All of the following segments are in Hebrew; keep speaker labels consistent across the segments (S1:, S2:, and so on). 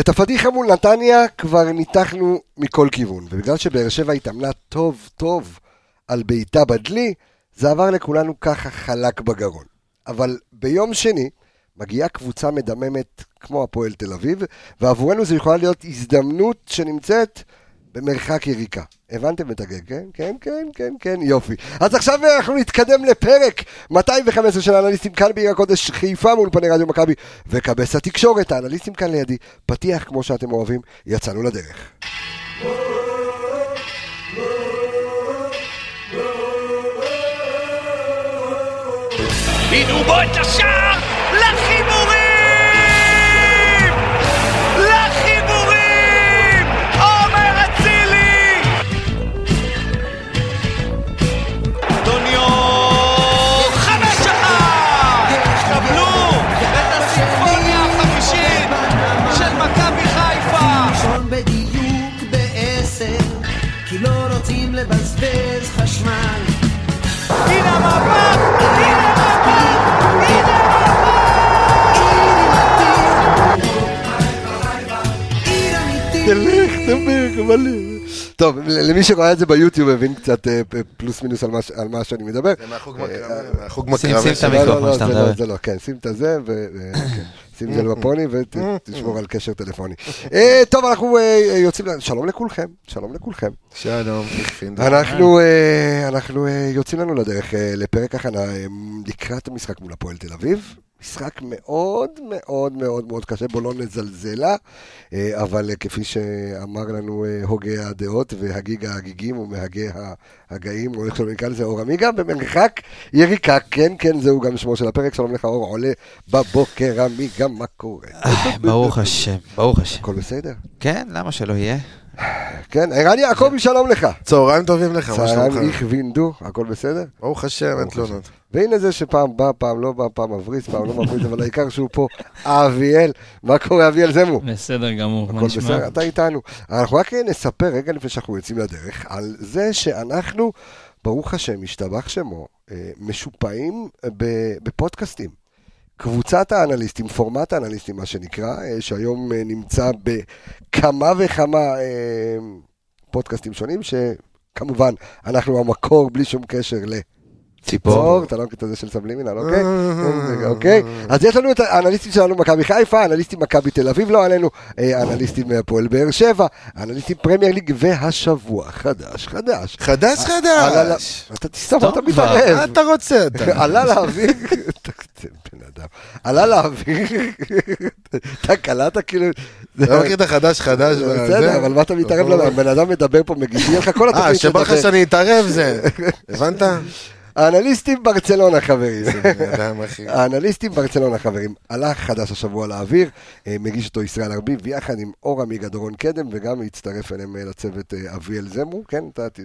S1: את הפדיחה מול נתניה כבר ניתחנו מכל כיוון, ובגלל שבאר שבע התאמנה טוב טוב על בעיטה בדלי, זה עבר לכולנו ככה חלק בגרון. אבל ביום שני מגיעה קבוצה מדממת כמו הפועל תל אביב, ועבורנו זו יכולה להיות הזדמנות שנמצאת במרחק יריקה. הבנתם את הגג, כן? כן, כן, כן, כן, יופי. אז עכשיו אנחנו נתקדם לפרק 215 של האנליסטים כאן בעיר הקודש חיפה מול פני רדיו מכבי וכבש התקשורת. האנליסטים כאן לידי, פתיח כמו שאתם אוהבים, יצאנו לדרך.
S2: בנאומות השער לחיבורים! לחיבורים! עומר אצילי! אדוניו! חמש אחת! קבלו את הסימפוניה החמישית של מכבי חיפה!
S3: ראשון בדיוק בעשר, כי לא רוצים לבזבז חשמל.
S2: הנה המאבק! הנה המאבק! הנה
S3: עיר אמיתית.
S1: תלך, תלך, אבל... טוב, למי שרואה את זה ביוטיוב הבין קצת אה, פלוס מינוס על מה ש- על מה שאני מדבר.
S4: זה מהחוג מקרמה, אה, מהחוג מקרמה.
S5: שים את
S4: של-
S1: לא, לא,
S5: המיקרופון
S1: לא,
S5: שאתה
S1: זה לא,
S5: מדבר.
S1: זה לא, כן, שים את הזה, ו- ו- כן, שים את זה בפוני ותשמור על קשר טלפוני. אה, טוב, אנחנו אה, יוצאים, ל- שלום לכולכם, שלום לכולכם.
S4: שלום, פיפינדר.
S1: אנחנו אה, אנחנו אה, יוצאים לנו לדרך אה, לפרק הכנה אה, לקראת המשחק מול הפועל תל אביב. משחק מאוד מאוד מאוד מאוד קשה, בוא לא נזלזלה, אה, אבל אה, כפי שאמר לנו אה, הוגה הדעות והגיג ההגיגים ומהגי ההגאים, או איך שלא נקרא לזה, אור עמיגה, במרחק יריקה, כן, כן, זהו גם שמו של הפרק, שלום לך אור, עולה בבוקר עמיגה, מה קורה?
S5: אה, ברוך השם, ברוך השם.
S1: הכל בסדר?
S5: כן, למה שלא יהיה?
S1: כן, ערן יעקבי, שלום לך.
S4: צהריים טובים לך, אה, מה
S1: צהריים
S4: שלומך?
S1: איך וינדו, הכל בסדר?
S4: ברוך השם, אין תלונות.
S1: והנה זה שפעם בא, פעם לא בא, פעם מבריץ, פעם לא מבריץ, אבל העיקר שהוא פה, אביאל, מה קורה אביאל זמו?
S6: בסדר גמור, מה
S1: הכל
S6: נשמע?
S1: בסדר, אתה איתנו. אנחנו רק נספר רגע לפני שאנחנו יוצאים לדרך, על זה שאנחנו, ברוך השם, השתבח שמו, אה, משופעים אה, ב- בפודקאסטים. קבוצת האנליסטים, פורמט האנליסטים, מה שנקרא, אה, שהיום אה, נמצא בכמה וכמה אה, פודקאסטים שונים, שכמובן, אנחנו המקור בלי שום קשר ל... ציפור, אתה לא מכיר את זה של סבלימינל,
S4: אה,
S1: אוקיי? אוקיי? אז יש לנו את האנליסטים שלנו מכבי חיפה, אנליסטים מכבי תל אביב, לא עלינו, אה, אנליסטים מהפועל באר שבע, אנליסטים פרמייר ליג, והשבוע חדש, חדש.
S4: חדש
S1: עלה ל-
S4: חדש! כן.
S1: אתה תסתום, אתה
S6: טוב, כבר.
S4: אה, מה
S1: מתערב.
S4: אתה רוצה? אתה?
S1: עלה לאוויר, תקציב בן אדם, עלה לאוויר, אתה קלעת כאילו,
S4: אתה לא מכיר את החדש חדש? וה-
S1: בסדר,
S4: זה? נכון.
S1: אבל מה אתה מתערב לו, הבן אדם מדבר פה, מגישים לך כל
S4: אה,
S1: התוכנית
S4: שבא לך
S1: שלכם.
S4: שאני אתערב זה. הבנת?
S1: האנליסטים ברצלונה חברים,
S4: בן אדם, אחי.
S1: אה, האנליסטים ברצלונה, חברים. עלה חדש השבוע לאוויר, אה, מגיש אותו ישראל ארביב, יחד עם אור עמיגה דורון קדם, וגם הצטרף אליהם אה, לצוות אה, אביאל זמרו, כן, אתה ת-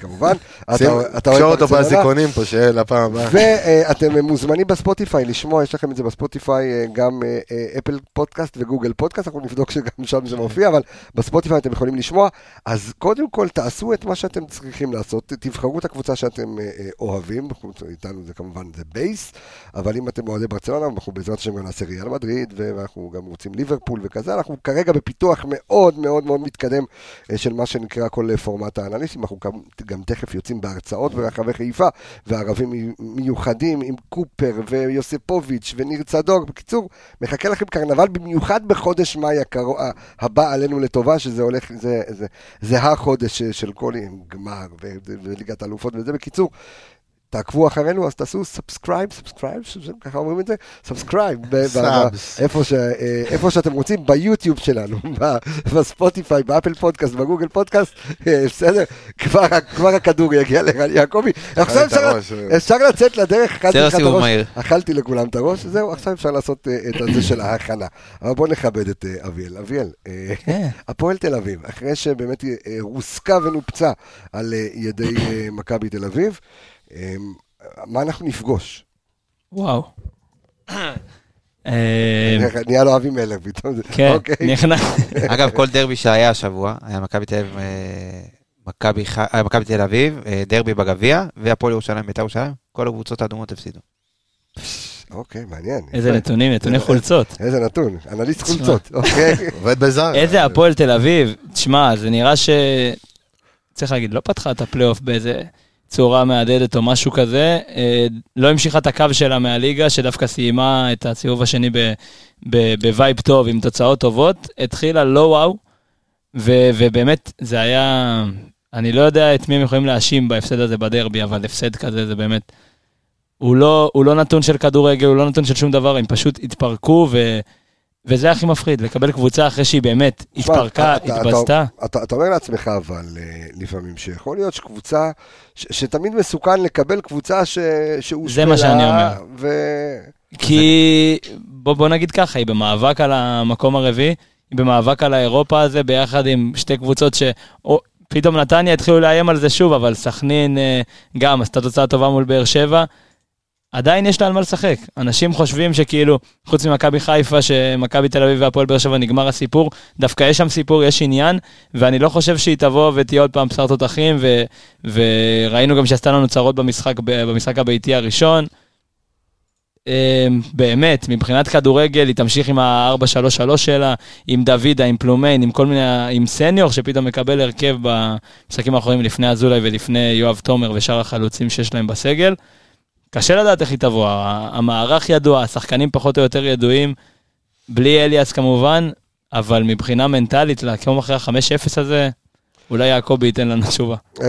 S1: כמובן. אתה-
S4: שים-
S1: אתה אוהב
S4: קשור אותו
S1: ברצלונה?
S4: באזיקונים פה, שיהיה לפעם הבאה.
S1: ואתם מוזמנים בספוטיפיי לשמוע, יש לכם את זה בספוטיפיי, אה, גם אה, אה, אפל פודקאסט וגוגל פודקאסט, אנחנו נבדוק שגם שם זה מופיע, אבל בספוטיפיי אתם יכולים לשמוע. אז קודם כל תעשו את מה שאתם צריכים לעשות, תבחרו את הקבוצה שאתם אה, אה, אוהבים, חוץ מאיתנו זה כמובן זה בייס, אבל אם אתם אוהדי ברצלונה, אנחנו בעזרת השם גם נעשה ריאל מדריד, ואנחנו גם רוצים ליברפול וכזה, אנחנו כרגע בפיתוח מאוד מאוד מאוד מתקדם אה, של מה שנקרא כל אה, פורמט האנליסטים, אנחנו גם, גם תכף יוצאים בהרצאות ברחבי חיפה, וערבים מי- מיוחדים עם קופר ויוסיפוביץ' וניר צדוק, בקיצור, מחכה לכם קרנבל במיוחד בחודש מאי הקרו- ה- הבא עלינו לטובה, שזה הולך, זה, זה, זה החודש ש- של כל גמר ו- ו- וליגת אלופות וזה, בקיצור. תעקבו אחרינו, אז תעשו סאבסקרייב, סאבסקרייב, ככה אומרים את זה? סאבסקרייב, ב- ב-
S4: סאבס.
S1: איפה, ש, אה, איפה שאתם רוצים, ביוטיוב שלנו, ב- בספוטיפיי, באפל פודקאסט, בגוגל פודקאסט, אה, בסדר? כבר, ה- כבר הכדור יגיע לרן יעקבי. עכשיו
S4: את
S1: אפשר,
S4: הראש, אה.
S1: ל- אפשר לצאת לדרך, אכלתי
S5: זה לא
S1: לך את
S5: סיבוב
S1: הראש,
S5: מהיר.
S1: אכלתי לכולם את הראש, זהו, עכשיו אפשר לעשות אה, את הזה של ההכנה. אבל בואו נכבד את אה, אביאל. אביאל, אה, הפועל תל אביב, אחרי שבאמת אה, רוסקה ונופצה על אה, ידי אה, מכבי תל אביב, אה, מה אנחנו נפגוש?
S6: וואו. אה,
S1: נהיה לו אבי מלך פתאום. זה-
S6: כן,
S1: אוקיי.
S6: נכנס.
S5: אגב, כל דרבי שהיה השבוע, היה מכבי תל אביב, אה, מכבי ח- אה, מכבי תל אביב, אה, דרבי בגביע, והפועל ירושלים, בית"ר ירושלים, כל הקבוצות האדומות הפסידו.
S1: אוקיי, מעניין.
S6: איזה נתונים, נתוני חולצות.
S1: איזה נתון, אנליסט חולצות, אוקיי.
S4: עובד בזר.
S6: איזה הפועל תל אביב, תשמע, זה נראה ש... צריך להגיד, לא פתחה את הפלייאוף באיזה צורה מהדהדת או משהו כזה, אה, לא המשיכה את הקו שלה מהליגה, שדווקא סיימה את הסיבוב השני ב- ב- בווייב טוב, עם תוצאות טובות, התחילה לא וואו, ו- ובאמת, זה היה... אני לא יודע את מי הם יכולים להאשים בהפסד הזה בדרבי, אבל הפסד כזה זה באמת... הוא לא, הוא לא נתון של כדורגל, הוא לא נתון של שום דבר, הם פשוט התפרקו, ו, וזה הכי מפחיד, לקבל קבוצה אחרי שהיא באמת
S1: תשמע,
S6: התפרקה,
S1: אתה- אתה-
S6: התבזתה.
S1: אתה אתה אומר לעצמך, אבל אה, לפעמים, שיכול להיות שקבוצה, ש- שתמיד מסוכן לקבל קבוצה ש- שהושפלה.
S6: מה שאני אומר.
S1: ו-
S6: כי בוא, בוא נגיד ככה, היא במאבק על המקום הרביעי, היא במאבק על האירופה הזה, ביחד עם שתי קבוצות ש... או, פתאום נתניה התחילו לאיים על זה שוב, אבל סכנין אה, גם עשתה תוצאה טובה מול באר שבע. עדיין יש לה על מה לשחק. אנשים חושבים שכאילו, חוץ ממכבי חיפה, שמכבי תל אביב והפועל באר שבע נגמר הסיפור, דווקא יש שם סיפור, יש עניין, ואני לא חושב שהיא תבוא ותהיה עוד פעם בשר תותחים, ו- וראינו גם שעשתה לנו צרות במשחק, ב- במשחק הביתי הראשון. אה, באמת, מבחינת כדורגל, היא תמשיך עם ה-4-3-3 שלה, עם דוידה, עם פלומיין, עם כל מיני, עם סניור, שפתאום מקבל הרכב במשחקים האחרונים לפני אזולאי ולפני יואב תומר ושאר החלוצים שיש להם בסגל. קשה לדעת איך היא תבוא, ה- המערך ידוע, השחקנים פחות או יותר ידועים, בלי אליאס כמובן, אבל מבחינה מנטלית, לקום אחרי ה-5-0 הזה, אולי יעקבי ייתן לנו תשובה.
S1: אמ,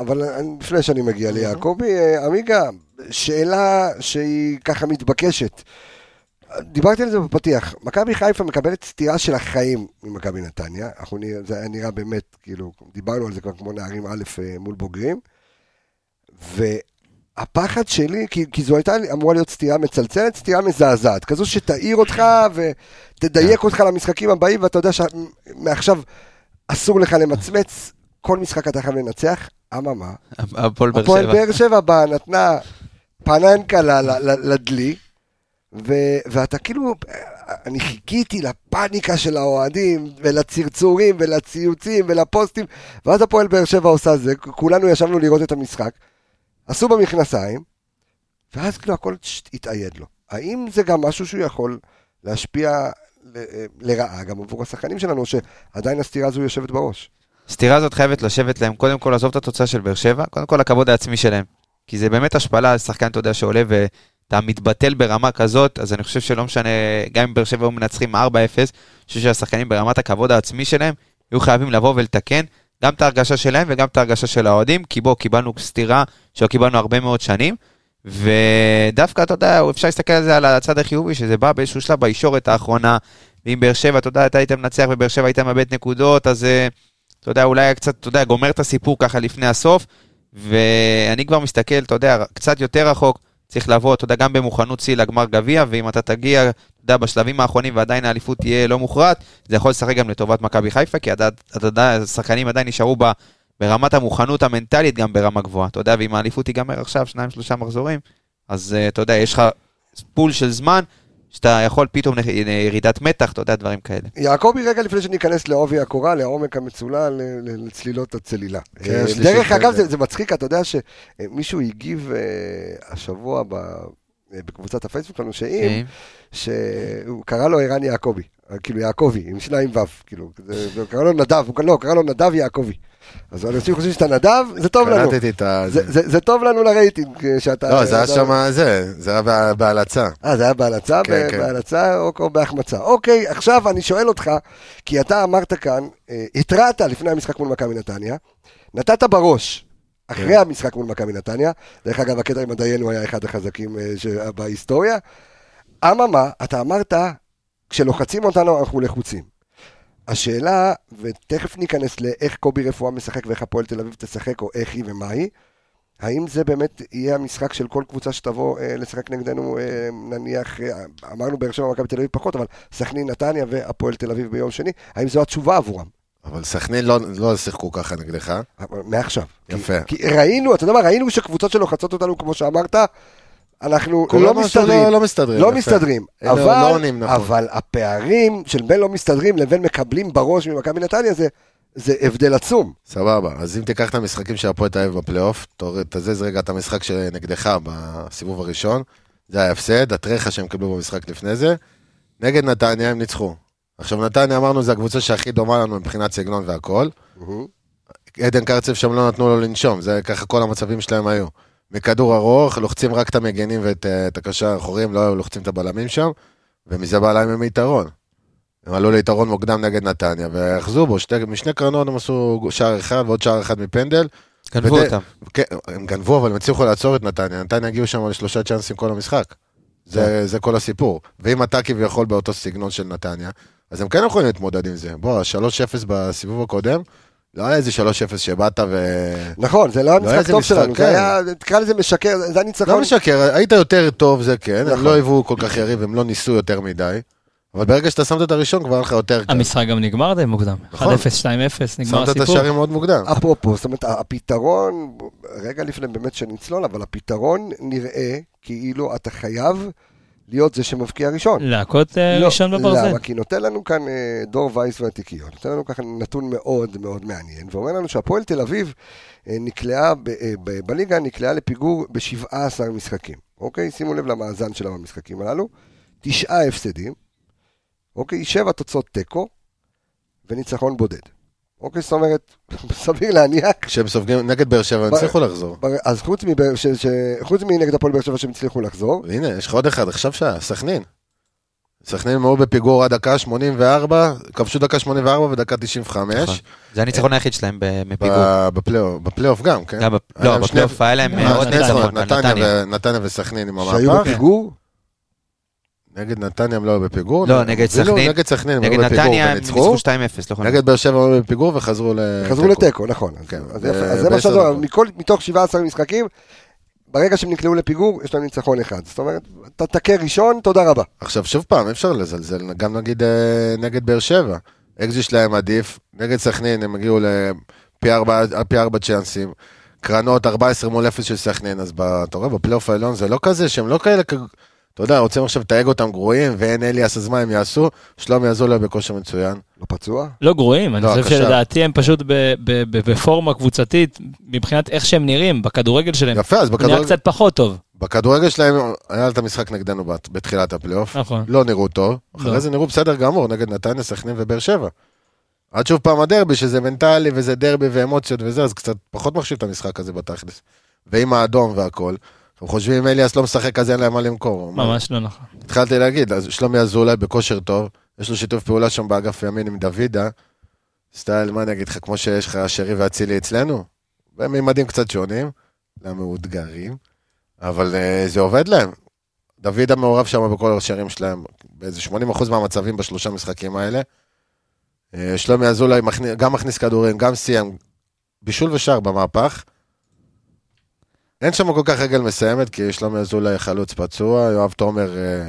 S1: אבל אני- לפני שאני מגיע ליעקבי, אה, עמיגה, שאלה שהיא ככה מתבקשת. דיברתי על זה בפתיח, מכבי חיפה מקבלת סטירה של החיים ממכבי נתניה, אנחנו נראה, זה היה נראה באמת, כאילו, דיברנו על זה כבר כמו נערים א' אה, מול בוגרים, והפחד שלי, כי, כי זו הייתה אמורה להיות סטירה מצלצלת, סטירה מזעזעת, כזו שתעיר אותך ותדייק אותך למשחקים הבאים, ואתה יודע שמעכשיו אסור לך למצמץ, כל משחק אתה חייב לנצח, אממה,
S5: הפועל באר
S1: הפועל
S5: שבע.
S1: באר שבע באה, נתנה פננקה ל- ל- ל- לדלי, ו- ואתה כאילו, אני חיכיתי לפאניקה של האוהדים, ולצרצורים, ולציוצים, ולפוסטים, ואז הפועל באר שבע עושה זה, כולנו ישבנו לראות את המשחק, עשו במכנסיים, ואז כאילו הכל ש- התאייד לו. האם זה גם משהו שהוא יכול להשפיע ל- אה, לרעה גם עבור השחקנים שלנו, שעדיין הסתירה הזו יושבת בראש?
S5: הסתירה הזאת חייבת לשבת להם, קודם כל לעזוב את התוצאה של באר שבע, קודם כל הכבוד העצמי שלהם. כי זה באמת השפלה על שחקן, אתה יודע, שעולה ואתה מתבטל ברמה כזאת, אז אני חושב שלא משנה, גם אם באר שבע היו מנצחים 4-0, אני חושב שהשחקנים ברמת הכבוד העצמי שלהם, יהיו חייבים לבוא ולתקן גם את ההרגשה שלהם וגם את ההרגשה של האוהדים, כי בוא, קיבלנו סתירה שלא קיבלנו הרבה מאוד שנים, ודווקא, אתה יודע, אפשר להסתכל על זה על הצד החיובי, שזה בא באיזשהו שלב בישורת האחרונה, ואם באר שבע, אתה יודע, אתה היית מנצח ובאר שבע היית מאבד נקודות, אז... אה, אתה יודע, אולי היה קצת, אתה יודע, גומר את הסיפור ככה לפני הסוף, ואני כבר מסתכל, אתה יודע, קצת יותר רחוק, צריך לבוא, אתה יודע, גם במוכנות שיא לגמר גביע, ואם אתה תגיע, אתה יודע, בשלבים האחרונים ועדיין האליפות תהיה לא מוכרעת, זה יכול לשחק גם לטובת מכבי חיפה, כי אתה אתה יודע, השחקנים עדיין נשארו ב... ברמת המוכנות המנטלית גם ברמה גבוהה, אתה יודע, ואם האליפות תיגמר עכשיו, שניים, שלושה מחזורים, אז אה, אתה יודע, יש לך פול של זמן, שאתה יכול פתאום נח- ירידת מתח, אתה יודע, דברים כאלה.
S1: יעקבי, רגע לפני שניכנס לעובי הקורה, לעומק המצולה, ל- ל- לצלילות הצלילה.
S4: כן,
S1: אה,
S4: יש לי
S1: דרך
S4: שאלה.
S1: אגב, זה זה מצחיק, אתה יודע שמישהו הגיב אה, השבוע ב- אה, בקבוצת הפייסבוק שלנו,
S4: כן.
S1: שאם, שהוא קרא לו ערן יעקבי, אה, כאילו יעקבי, עם שניים ו', כאילו, זה- זה- קרא לו נדב, הוא- לא, קרא לו נדב יעקבי. אז אנשים חושבים שאתה נדב, זה טוב לנו.
S4: קלטתי את ה...
S1: זה- זה זה טוב לנו לרייטינג אה, שאתה...
S4: לא, זה היה שם זה, זה היה בה- בהלצה.
S1: אה, זה היה בהלצה,
S4: כן,
S1: ב-
S4: כן.
S1: בהלצה או, או בהחמצה. אוקיי, עכשיו אני שואל אותך, כי אתה אמרת כאן, אה, התרעת לפני המשחק מול מכבי נתניה, נתת בראש. אחרי המשחק מול מכבי נתניה, דרך אגב, הקטע עם הדיין הוא היה אחד החזקים אה, ש- בהיסטוריה. אממה, אתה אמרת, כשלוחצים אותנו אנחנו לחוצים. השאלה, ותכף ניכנס לאיך קובי רפואה משחק ואיך הפועל תל אביב תשחק, או איך היא ומה היא, האם זה באמת יהיה המשחק של כל קבוצה שתבוא אה, לשחק נגדנו, אה, נניח, אה, אמרנו באר שבע מכבי תל אביב פחות, אבל סכנין נתניה והפועל תל אביב ביום שני, האם זו התשובה עבורם?
S4: אבל סכנין לא- לא שיחקו ככה נגדך.
S1: אבל מעכשיו.
S4: יפה.
S1: כי, כי ראינו, אתה יודע מה, ראינו שקבוצות שלוחצות אותנו, כמו שאמרת, אנחנו לא
S4: כולם משהו
S1: מסתדרים.
S4: לא מסתדרים.
S1: לא
S4: יפה.
S1: מסתדרים,
S4: לא- לא
S1: אבל,
S4: עונים נכון.
S1: אבל הפערים של בין לא מסתדרים לבין מקבלים בראש ממכבי נתניה זה, זה הבדל עצום.
S4: סבבה, אז אם תיקח את המשחקים של הפועל תל אביב בפלייאוף, תוריד- תזיז רגע את המשחק שנגדך בסיבוב הראשון, זה היה הפסד, הטרחה שהם קיבלו במשחק לפני זה. נגד נתניה הם ניצחו. עכשיו, נתניה אמרנו, זו הקבוצה שהכי דומה לנו מבחינת סגנון והכל. עדן קרצב שם לא נתנו לו לנשום, זה ככה כל המצבים שלהם היו. מכדור ארוך, לוחצים רק את המגנים ואת אה, את הקשר האחורים, לא היו לוחצים את הבלמים שם, ומזה בא להם עם יתרון. הם עלו ליתרון מוקדם נגד נתניה, ואחזו בו, שתי, משני קרנות הם עשו שער אחד ועוד שער אחד מפנדל.
S5: גנבו
S4: ודי-
S5: אותם.
S4: כן, הם גנבו, אבל הם הצליחו לעצור את נתניה. נתניה הגיעו שם לשלושה צ'אנסים כל המשחק.
S6: כן.
S4: זה, זה כל הסיפור. ואם אתה כביכול באותו סגנון של נתניה, אז הם כן יכולים להתמודד עם זה. בוא, 3-0 בסיבוב הקודם, לא היה איזה 3-0 שבאת ו...
S1: נכון, זה לא היה
S4: לא היה
S1: משחק
S4: איזה
S1: טוב
S4: משחק,
S1: שלנו, זה
S4: כן.
S1: היה, תקרא לזה משקר, זה היה
S6: נכון.
S4: לא
S1: ניצחון.
S4: משקר, היית יותר טוב, זה כן,
S1: נכון.
S4: הם לא היוו כל כך יריב, הם לא ניסו יותר מדי, אבל ברגע שאתה שמת את הראשון כבר היה לך יותר קל.
S6: המשחק גם נגמר די מוקדם. 1-0, 2-0,
S4: נכון.
S6: נגמר
S4: שמת את
S6: הסיפור.
S4: השערים מאוד מוקדם.
S1: אפרופו, זאת אומרת, הפתרון, רגע לפני באמת שנצלול, אבל הפתרון נראה כאילו אתה חייב להיות זה שמבקיע ראשון.
S6: להכות אה,
S1: לא,
S6: ראשון בברזל.
S1: למה? כי נותן לנו כאן אה, דור וייס והתיקיון, נותן לנו ככה נתון מאוד מאוד מעניין, ואומר לנו שהפועל תל אביב אה, נקלעה, ב- אה, ב- בליגה נקלעה לפיגור ב-17 משחקים, אוקיי? שימו לב למאזן שלה במשחקים הללו, תשעה הפסדים, אוקיי? שבע תוצאות תיקו, וניצחון בודד. אוקיי, זאת אומרת, סביר להניח
S4: כשהם סופגים נגד באר שבע, הם
S1: ב-
S4: הצליחו לחזור.
S1: אז חוץ, מבאר- ש, ש, חוץ מנגד הפועל באר שבע שהם הצליחו לחזור,
S4: והנה, יש לך עוד אחד, עכשיו שעה, סכנין. סכנין מאוד בפיגור עד דקה 84, כבשו דקה 84 ודקה 95,
S5: נכון. זה הניצחון היחיד שלהם ב-
S4: ב-
S5: מפיגור.
S4: בפלייאוף- בפלייאוף גם, כן?
S5: היה בפ-
S4: היה
S5: לא,
S4: להם אה, שני-
S5: בפלייאוף היה להם אה, עוד
S6: נתניה,
S5: ניצחון. על
S4: נתניה
S5: נתניה.
S4: ו- נתניה וסכנין עם
S1: שהיו
S4: המהפך.
S1: בפיגור,
S4: נגד נתניה הם לא היו בפיגור.
S5: לא,
S4: הם
S5: נגד
S4: הובילו,
S5: סכנין.
S4: נגד סכנין הם
S5: נגד
S4: היו בפיגור
S5: נתניה הם
S4: וניצחו.
S5: ניצחו 2-0, לא יכול
S4: נגד באר שבע הם היו בפיגור וחזרו
S1: חזרו לתיקו, נכון. אז-
S4: כן,
S1: אז
S4: ב-
S1: יפה, אז זה מה
S4: בעשר
S1: שאתה אומר,
S4: דקות.
S1: מכל- מתוך 17 משחקים, ברגע שהם נקלעו לפיגור, יש להם ניצחון אחד. זאת אומרת, אתה תכה ראשון, תודה רבה.
S4: עכשיו, שוב פעם, אי אפשר לזלזל, גם נגיד אה, נגד באר שבע. אקזי שלהם עדיף, נגד סכנין הם הגיעו לפי ארבע, פי ארבע צ'אנסים. קרנות 14 מול 0 של סכנין, אז ב- אתה רואה, בפלייאוף העליון זה לא כזה, שהם לא כאלה, כ- אתה יודע, רוצים עכשיו לתייג אותם גרועים, ואין אליאס, אז מה הם יעשו? שלומי אזולאי בכושר מצוין.
S1: לא פצוע?
S6: לא גרועים, אני
S4: לא,
S6: חושב
S4: הקשר.
S6: שלדעתי הם פשוט ב- ב- ב- בפורמה קבוצתית, מבחינת איך שהם נראים, בכדורגל שלהם.
S4: יפה, אז
S6: הוא כן. נראה
S4: בכדורגל,
S6: קצת פחות טוב.
S4: בכדורגל שלהם היה את המשחק נגדנו בת- בתחילת הפלייאוף.
S6: נכון.
S4: לא נראו טוב, אחרי
S6: לא.
S4: זה נראו בסדר גמור נגד נתניה, סכנין ובאר שבע. עד שוב פעם הדרבי, שזה מנטלי וזה דרבי ואמוציות וזה, אז קצת פחות מחשיב את המשחק הזה בתכלס. ועם האדום והכל, הם חושבים אם אליאס לא משחק אז אין להם מה למכור.
S6: ממש לא נכון.
S4: התחלתי להגיד, אז שלומי אזולאי בכושר טוב, יש לו שיתוף פעולה שם באגף ימין עם דוידה. סטייל, מה אני אגיד לך, כמו שיש לך שרי ואצילי אצלנו, בממדים קצת שונים, למאותגרים, אבל אה, זה עובד להם. דוידה מעורב שם בכל השערים שלהם, באיזה 80% מהמצבים בשלושה משחקים האלה. אה, שלומי אזולאי מכני- גם מכניס כדורים, גם סיים בישול ושער במהפך. אין שם כל כך רגל מסיימת, כי שלומי אזולאי חלוץ פצוע, יואב תומר, אה,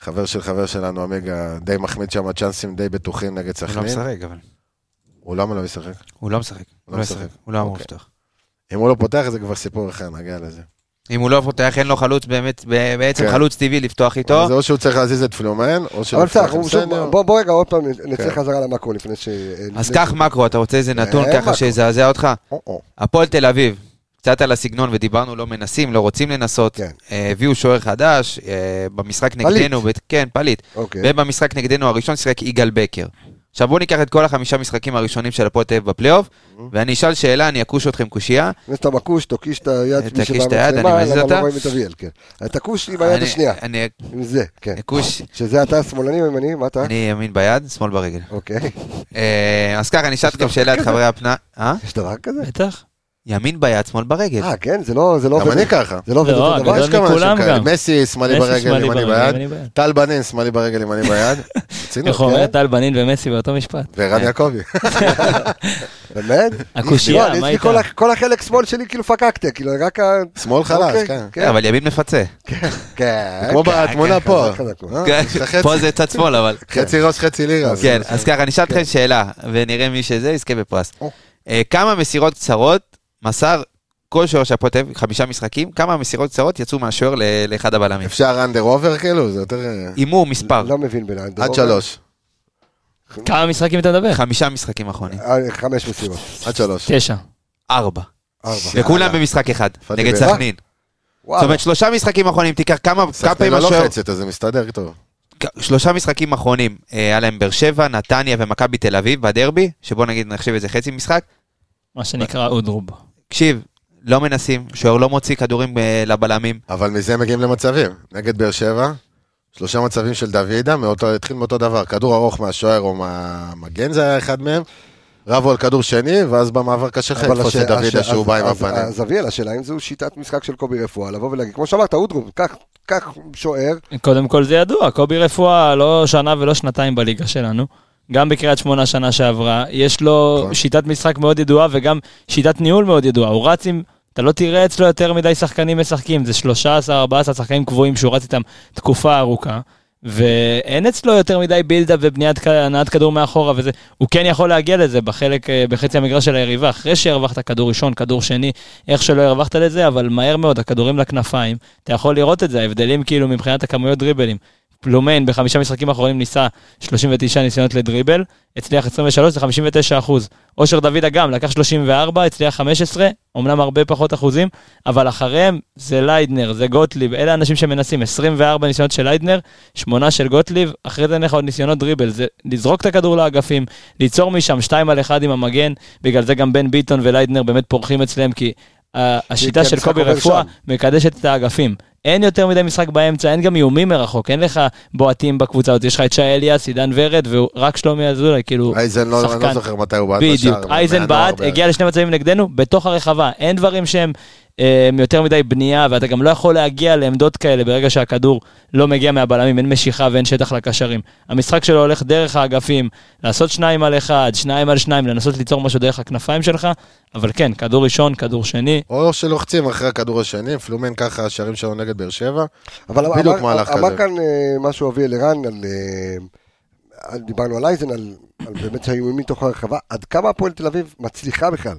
S4: חבר של חבר שלנו, עמיגה, די מחמיד שם, צ'אנסים די בטוחים נגד
S5: הוא לא
S4: סכנין.
S5: משחק, אבל.
S4: הוא למה לא ישחק?
S5: הוא לא משחק. הוא לא ישחק. הוא לא אמור
S4: אוקיי.
S5: לפתוח.
S4: אם הוא לא פותח זה כבר סיפור אחר, נגיע לזה.
S5: אם הוא לא פותח, אין לו חלוץ באמת, ב- בעצם
S4: כן.
S5: חלוץ טבעי לפתוח איתו.
S4: אז זה או שהוא צריך להזיז את פלומן, או שהוא
S1: אבל בסדר,
S4: צריך
S1: אנחנו
S4: עם
S1: שוב-
S4: סניור.
S1: בוא- בוא רגע עוד פעם נצא
S4: כן.
S1: חזרה למקרו לפני ש...
S5: אז
S1: לפני-
S5: קח מקרו, אתה רוצה איזה נתון
S1: אה, מקרו.
S5: ככה שיזעזע אותך?
S4: או, או.
S5: הפועל תל אביב, קצת על הסגנון, ודיברנו לא מנסים, לא רוצים לנסות.
S1: כן.
S5: אה, הביאו שוער חדש, אה, במשחק
S1: פליט.
S5: נגדנו, ב- כן, פליט.
S1: אוקיי.
S5: ובמשחק נגדנו הראשון שיחק יגאל בקר. עכשיו בואו ניקח את כל החמישה משחקים הראשונים של הפועל תל אביב בפלייאוף, ואני אשאל שאלה, אני אכוש אתכם קושייה.
S1: לפני שאתה מכוש, תוקיש את היד,
S5: תקיש
S1: מי שבא
S5: את היד, אני
S1: מצלמה,
S5: מזיז
S1: למה לא
S5: אותה?
S1: רואים את אביאל, כן. אתה כוש עם היד
S5: אני-
S1: השנייה,
S5: אני
S1: עם זה, כן.
S5: אכוש,
S1: שזה אתה שמאלני או ימני, מה אתה?
S5: אני ימין ביד, שמאל ברגל.
S1: אוקיי.
S5: אה, אז ככה, אני אשאל אתכם שאלה את חברי הפנאי. אה?
S1: יש דבר כזה?
S4: לא.
S6: בטח.
S5: ימין ביד, שמאל ברגל.
S1: אה, כן, זה לא... זה לא
S4: גם
S1: עובד-
S4: אני ככה.
S1: זה לא עובד
S6: לא,
S1: אותו דבר.
S6: הגדול
S4: יש כמה
S6: מכולם
S4: אנשים כאלה.
S6: גם.
S4: מסי, שמאלי
S6: מסי,
S4: ברגל,
S6: שמאלי
S4: ימני
S6: ברגל,
S4: ביד.
S6: ימני ביד.
S4: טל בנין, שמאלי ברגל, ימני ביד. רצינות,
S6: איך אומר
S4: כן?
S6: טל בנין ומסי באותו משפט.
S4: ורן יעקבי.
S1: באמת?
S6: הקושייה,
S1: נכון,
S6: מה
S1: יש לי
S6: איתה?
S1: כל ה- כל החלק שמאל שלי כאילו פקקטה, כאילו רק ה...
S4: שמאל
S1: אוקיי,
S4: חלש, כן.
S5: כן, אבל ימין מפצה.
S1: כן.
S4: כמו בתמונה פה.
S1: חזק, חזק,
S4: אה?
S5: כן,
S4: יש לך חצי-
S5: פה זה צד שמאל, אבל...
S4: חצי ראש, חצי לירה.
S5: כן,
S4: זה-
S5: אז ככה, אני אשאל אתכם שאלה, ונראה מי שזה יזכה בפרס.
S4: או.
S5: אה, כמה מסירות קצרות מסר כל שוער של הפועל תל אביב, חמישה משחקים, כמה מסירות קצרות יצאו מהשוער ל- לאחד הבלמים?
S4: אפשר אנדר אובר כאילו? זה יותר... אה,
S5: הימור, מספר,
S1: לא מבין בלעד.
S4: עד שלוש. כן.
S6: כמה משחקים אתה מדבר?
S5: חמישה משחקים אחרונים,
S1: אה, חמש מסיבות.
S4: עד שלוש.
S6: תשע.
S5: ארבע.
S1: ארבע.
S5: וכולם במשחק אחד,
S4: פאדי
S5: נגד
S4: באר.
S5: סכנין. זאת אומרת, שלושה משחקים אחרונים, תיקח כמה כמה
S4: סכנין
S5: פעמים
S4: לא
S5: השוער...
S4: לוחצת, אז זה מסתדר טוב.
S5: כ- שלושה משחקים אחרונים, אה, היה להם באר שבע, נתניה ומכבי תל אביב בדרבי, שבוא נגיד נחשיב את זה חצי משחק.
S6: מה שנקרא אודרוב.
S5: תקשיב, לא מנסים, שוער לא מוציא כדורים אה, לבלמים.
S4: אבל מזה מגיעים למצבים. נגד באר שבע, שלושה מצבים של דוידה, מאותו, התחיל מאותו דבר. כדור ארוך מהשוער או מהמגן, זה היה אחד מהם. רבו על כדור שני, ואז במעבר קשה לך לתפוס את דוידה שהוא בא עם הפנים.
S1: אז אביאל, השאלה אם זו שיטת משחק של קובי רפואה, לבוא ולהגיד, כמו שאמרת, אודרום, קח- קח שוער,
S6: קודם כל זה ידוע, קובי רפואה לא שנה ולא שנתיים בליגה שלנו. גם בקריית שמונה שנה שעברה, יש לו
S4: נכון.
S6: שיטת משחק מאוד ידועה וגם שיטת ניהול מאוד ידועה. הוא רץ עם, אתה לא תראה אצלו יותר מדי שחקנים משחקים, זה 13-14 שחקנים קבועים שהוא רץ איתם תקופה ארוכה, ואין אצלו יותר מדי בילדאפ ובניית כ- הנעת כדור מאחורה וזה. הוא כן יכול להגיע לזה בחלק, אה, בחצי המגרש של היריבה, אחרי שהרווחת כדור ראשון, כדור שני, איך שלא הרווחת לזה, אבל מהר מאוד, הכדורים לכנפיים, אתה יכול לראות את זה, ההבדלים כאילו מבחינת הכמויות דריבלים. פלומיין בחמישה משחקים האחרונים ניסה 39 ניסיונות לדריבל, הצליח 23, זה 59 אחוז. אושר דוידה גם, לקח 34, הצליח 15, אמנם הרבה פחות אחוזים, אבל אחריהם זה ליידנר, זה גוטליב, אלה האנשים שמנסים, 24 ניסיונות של ליידנר, 8 של גוטליב, אחרי זה אין לך עוד ניסיונות דריבל, זה לזרוק את הכדור לאגפים, ליצור משם 2 על 1 עם המגן, בגלל זה גם בן ביטון וליידנר באמת פורחים אצלם, כי ה- השיטה
S1: כי
S6: של
S1: המשחק
S6: קובי
S1: עובר
S6: רפואה
S1: שם.
S6: מקדשת את האגפים. אין יותר מדי משחק באמצע, אין גם איומים מרחוק, אין לך בועטים בקבוצה הזאת, יש לך את שי אליאס, עידן ורד, ורק שלומי אזולאי, כאילו,
S4: אייזן, לא- אני לא
S6: שחקן.
S4: זוכר מתי הוא בעט בשער.
S6: בדיוק,
S4: אבל
S6: אייזן
S4: מהנוער
S6: בעט,
S4: בערך.
S6: הגיע לשני מצבים נגדנו, בתוך הרחבה, אין דברים שהם אה, יותר מדי בנייה, ואתה גם לא יכול להגיע לעמדות כאלה ברגע שהכדור לא מגיע מהבלמים, אין משיכה ואין שטח לקשרים. המשחק שלו הולך דרך האגפים, לעשות שניים על אחד, שניים על שניים, לנסות ליצור משהו דרך הכנפיים שלך, אבל כן, כדור ראשון, כדור שני,
S4: או שלוחצים אחרי הכדור השני, פלומן ככה השערים שלו נגד באר שבע.
S1: אבל
S4: בדיוק
S1: אמר,
S4: מהלך
S1: אמר
S4: כזה.
S1: כאן אה, משהו אבי אלירן, על, אה, על, דיברנו על אייזן, על, על באמת שהיו מתוך הרחבה, עד כמה הפועל תל אביב מצליחה בכלל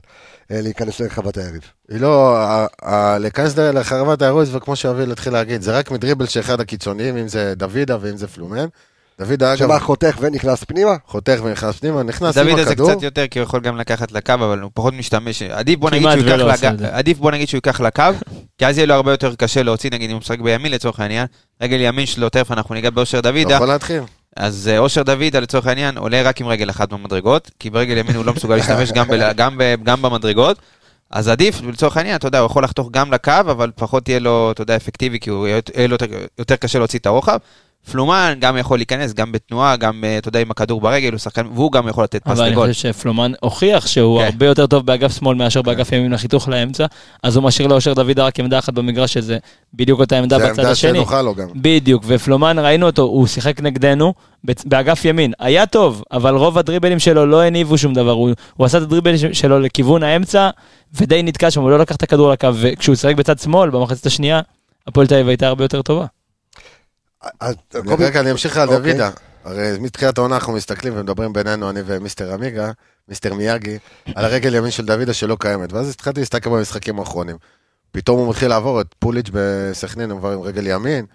S1: אה, להיכנס לרחבת היריב.
S4: היא לא, ה- ה- להיכנס ל- לחרבת האירוע זה כמו שאביל התחיל להגיד, זה רק מדריבל שאחד הקיצוניים, אם זה דוידה ואם זה פלומן. דוידה אגב
S1: שמה חותך ונכנס פנימה?
S4: חותך ונכנס פנימה, נכנס עם
S5: דוד זה
S4: הכדור.
S5: קצת יותר, כי הוא יכול גם לקחת לקו, אבל הוא פחות משתמש. עדיף בוא נגיד
S6: כמעט
S5: שהוא ייקח
S6: ולא עושה
S5: לג-
S6: את זה.
S5: עדיף בוא נגיד שהוא ייקח לקו, כי אז יהיה לו הרבה יותר קשה להוציא, נגיד אם הוא משחק בימין לצורך העניין, רגל ימין שלו, תכף אנחנו ניגע באושר
S4: אתה
S5: דוידה,
S4: יכול להתחיל.
S5: אז אה, אושר דוידה לצורך העניין עולה רק עם רגל אחת במדרגות, כי ברגל ימין הוא לא מסוגל להשתמש גם, ב, גם, ב, גם במדרגות, אז עדיף לצורך העניין, אתה יודע, הוא יכול לחתוך גם לקו, אבל פחות יהיה לו, אתה יודע, אפקטיבי, כי הוא יהיה יהיה לו יותר, יותר קשה להוציא את הרוחב. פלומן גם יכול להיכנס, גם בתנועה, גם, אה, אתה יודע, עם הכדור ברגל, הוא שחקן, והוא גם יכול לתת פס
S6: אבל אני
S5: לגול.
S6: חושב שפלומן הוכיח שהוא
S5: כן.
S6: הרבה יותר טוב באגף שמאל מאשר באגף ימין לחיתוך לאמצע, אז הוא משאיר לאושר דוידה רק עמדה אחת במגרש, שזה בדיוק אותה עמדה
S4: זה
S6: בצד
S4: העמדה
S6: השני.
S4: שנוחה לו גם.
S6: בדיוק, ופלומן, ראינו אותו, הוא שיחק נגדנו בצ- באגף ימין. היה טוב, אבל רוב הדריבלים שלו לא הניבו שום דבר. הוא, הוא עשה את הדריבל ש- שלו לכיוון האמצע, ודי נתקע שם, הוא לא לקח את הכדור לקו, וכשהוא שיחק בצד שמאל, במחצית השנייה, הפועל תל אביב הייתה הרבה יותר טובה.
S1: אז, אה, קובי,
S4: רגע, אני אמשיך על
S1: אוקיי.
S4: דוידה. הרי מתחילת העונה אנחנו מסתכלים ומדברים בינינו, אני ומיסטר עמיגה, מיסטר מיאגי, על הרגל ימין של דוידה שלא קיימת. ואז התחלתי להסתכל במשחקים האחרונים. פתאום הוא מתחיל לעבור את פוליץ' בסכנין, הוא כבר עם רגל ימין.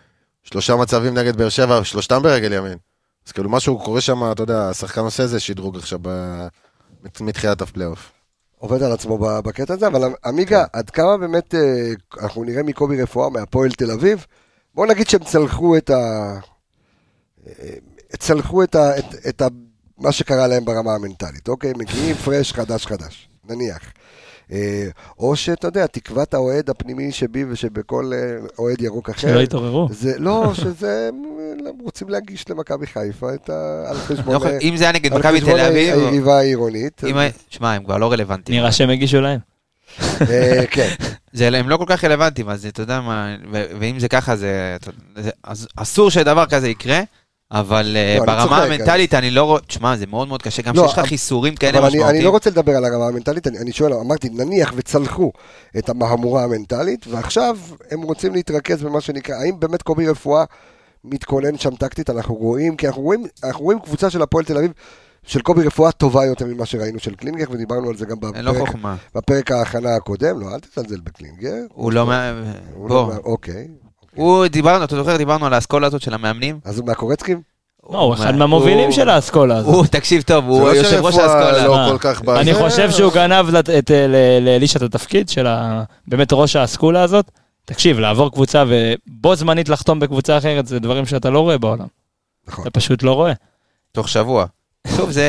S4: שלושה מצבים נגד באר שבע, שלושתם ברגל ימין. אז כאילו משהו קורה שם, אתה יודע, השחקן עושה איזה שדרוג עכשיו ב- מת- מתחילת הפלייאוף.
S1: עובד על עצמו ב- בקטע הזה, אבל עמיגה,
S5: כן.
S1: עד כמה באמת אה, אנחנו נראה מקובי רפואה מהפועל תל אביב? בואו נגיד שהם צלחו את ה... אה, צלחו את ה... את, את ה... מה שקרה להם ברמה המנטלית, אוקיי? מגיעים פרש חדש חדש, נניח. אה, או שאתה יודע, תקוות האוהד הפנימי שבי ושבכל אה, אוהד ירוק אחר.
S6: שלא התעוררו.
S1: זה לא, שזה, הם רוצים להגיש למכבי חיפה את ה... על
S5: אני
S1: חשבון... אה,
S5: לא יכול- אם זה היה נגד
S1: על
S5: מכבי
S1: חשבון
S5: תל אביב, או-
S1: היריבה העירונית.
S5: אם היה- שמע, הם כבר לא רלוונטיים.
S6: נראה שהם הגישו להם.
S1: אה, כן.
S5: זה, הם לא כל כך רלוונטיים, אז אתה יודע מה, ו- ואם זה ככה, זה, אתה- זה אז אסור שדבר כזה יקרה, אבל אה,
S1: לא, אני צוחק,
S5: ברמה המנטלית אני לא רואה, תשמע, זה מאוד מאוד קשה, גם
S1: לא,
S5: שיש לך
S1: אבל-
S5: חיסורים
S1: אבל
S5: כאלה
S1: אני, אני
S5: משמעותיים.
S1: לא רוצה לדבר על הרמה המנטלית, אני, אני שואל, אמרתי, נניח וצלחו את המהמורה המנטלית, ועכשיו הם רוצים להתרכז במה שנקרא, האם באמת קובי רפואה מתכונן שם טקטית, אנחנו רואים, כי אנחנו רואים, אנחנו רואים קבוצה של הפועל תל אביב, של קובי רפואה טובה יותר ממה שראינו של קלינגר, ודיברנו על זה גם
S5: אין לו
S1: בפרק,
S5: חוכמה.
S1: בפרק ההכנה הקודם, לא, אל תזלזל בקלינגר.
S5: הוא לא... מה-
S1: הוא
S5: בוא,
S1: לא- אוקיי,
S5: הוא דיברנו, אתה זוכר, דיברנו על האסכולה הזאת של המאמנים?
S1: אז הוא מהקורצקים?
S6: לא, הוא אחד
S5: מה-
S6: מהמובילים
S5: הוא-
S6: של האסכולה הזאת.
S5: הוא, תקשיב טוב, הוא
S4: זה לא
S5: יושב ראש
S4: שרפואה
S5: האסכולה.
S4: לא
S6: אה.
S4: כל כך... בא-
S6: אני
S4: זה-
S6: אה, חושב שהוא גנב לת- את- ל- לאלישע את התפקיד של ה- באמת ראש האסכולה הזאת, תקשיב, לעבור קבוצה ובו זמנית לחתום בקבוצה אחרת, זה דברים שאתה לא רואה בעולם.
S1: נכון.
S6: אתה פשוט לא רואה.
S5: תוך שבוע. טוב, זה...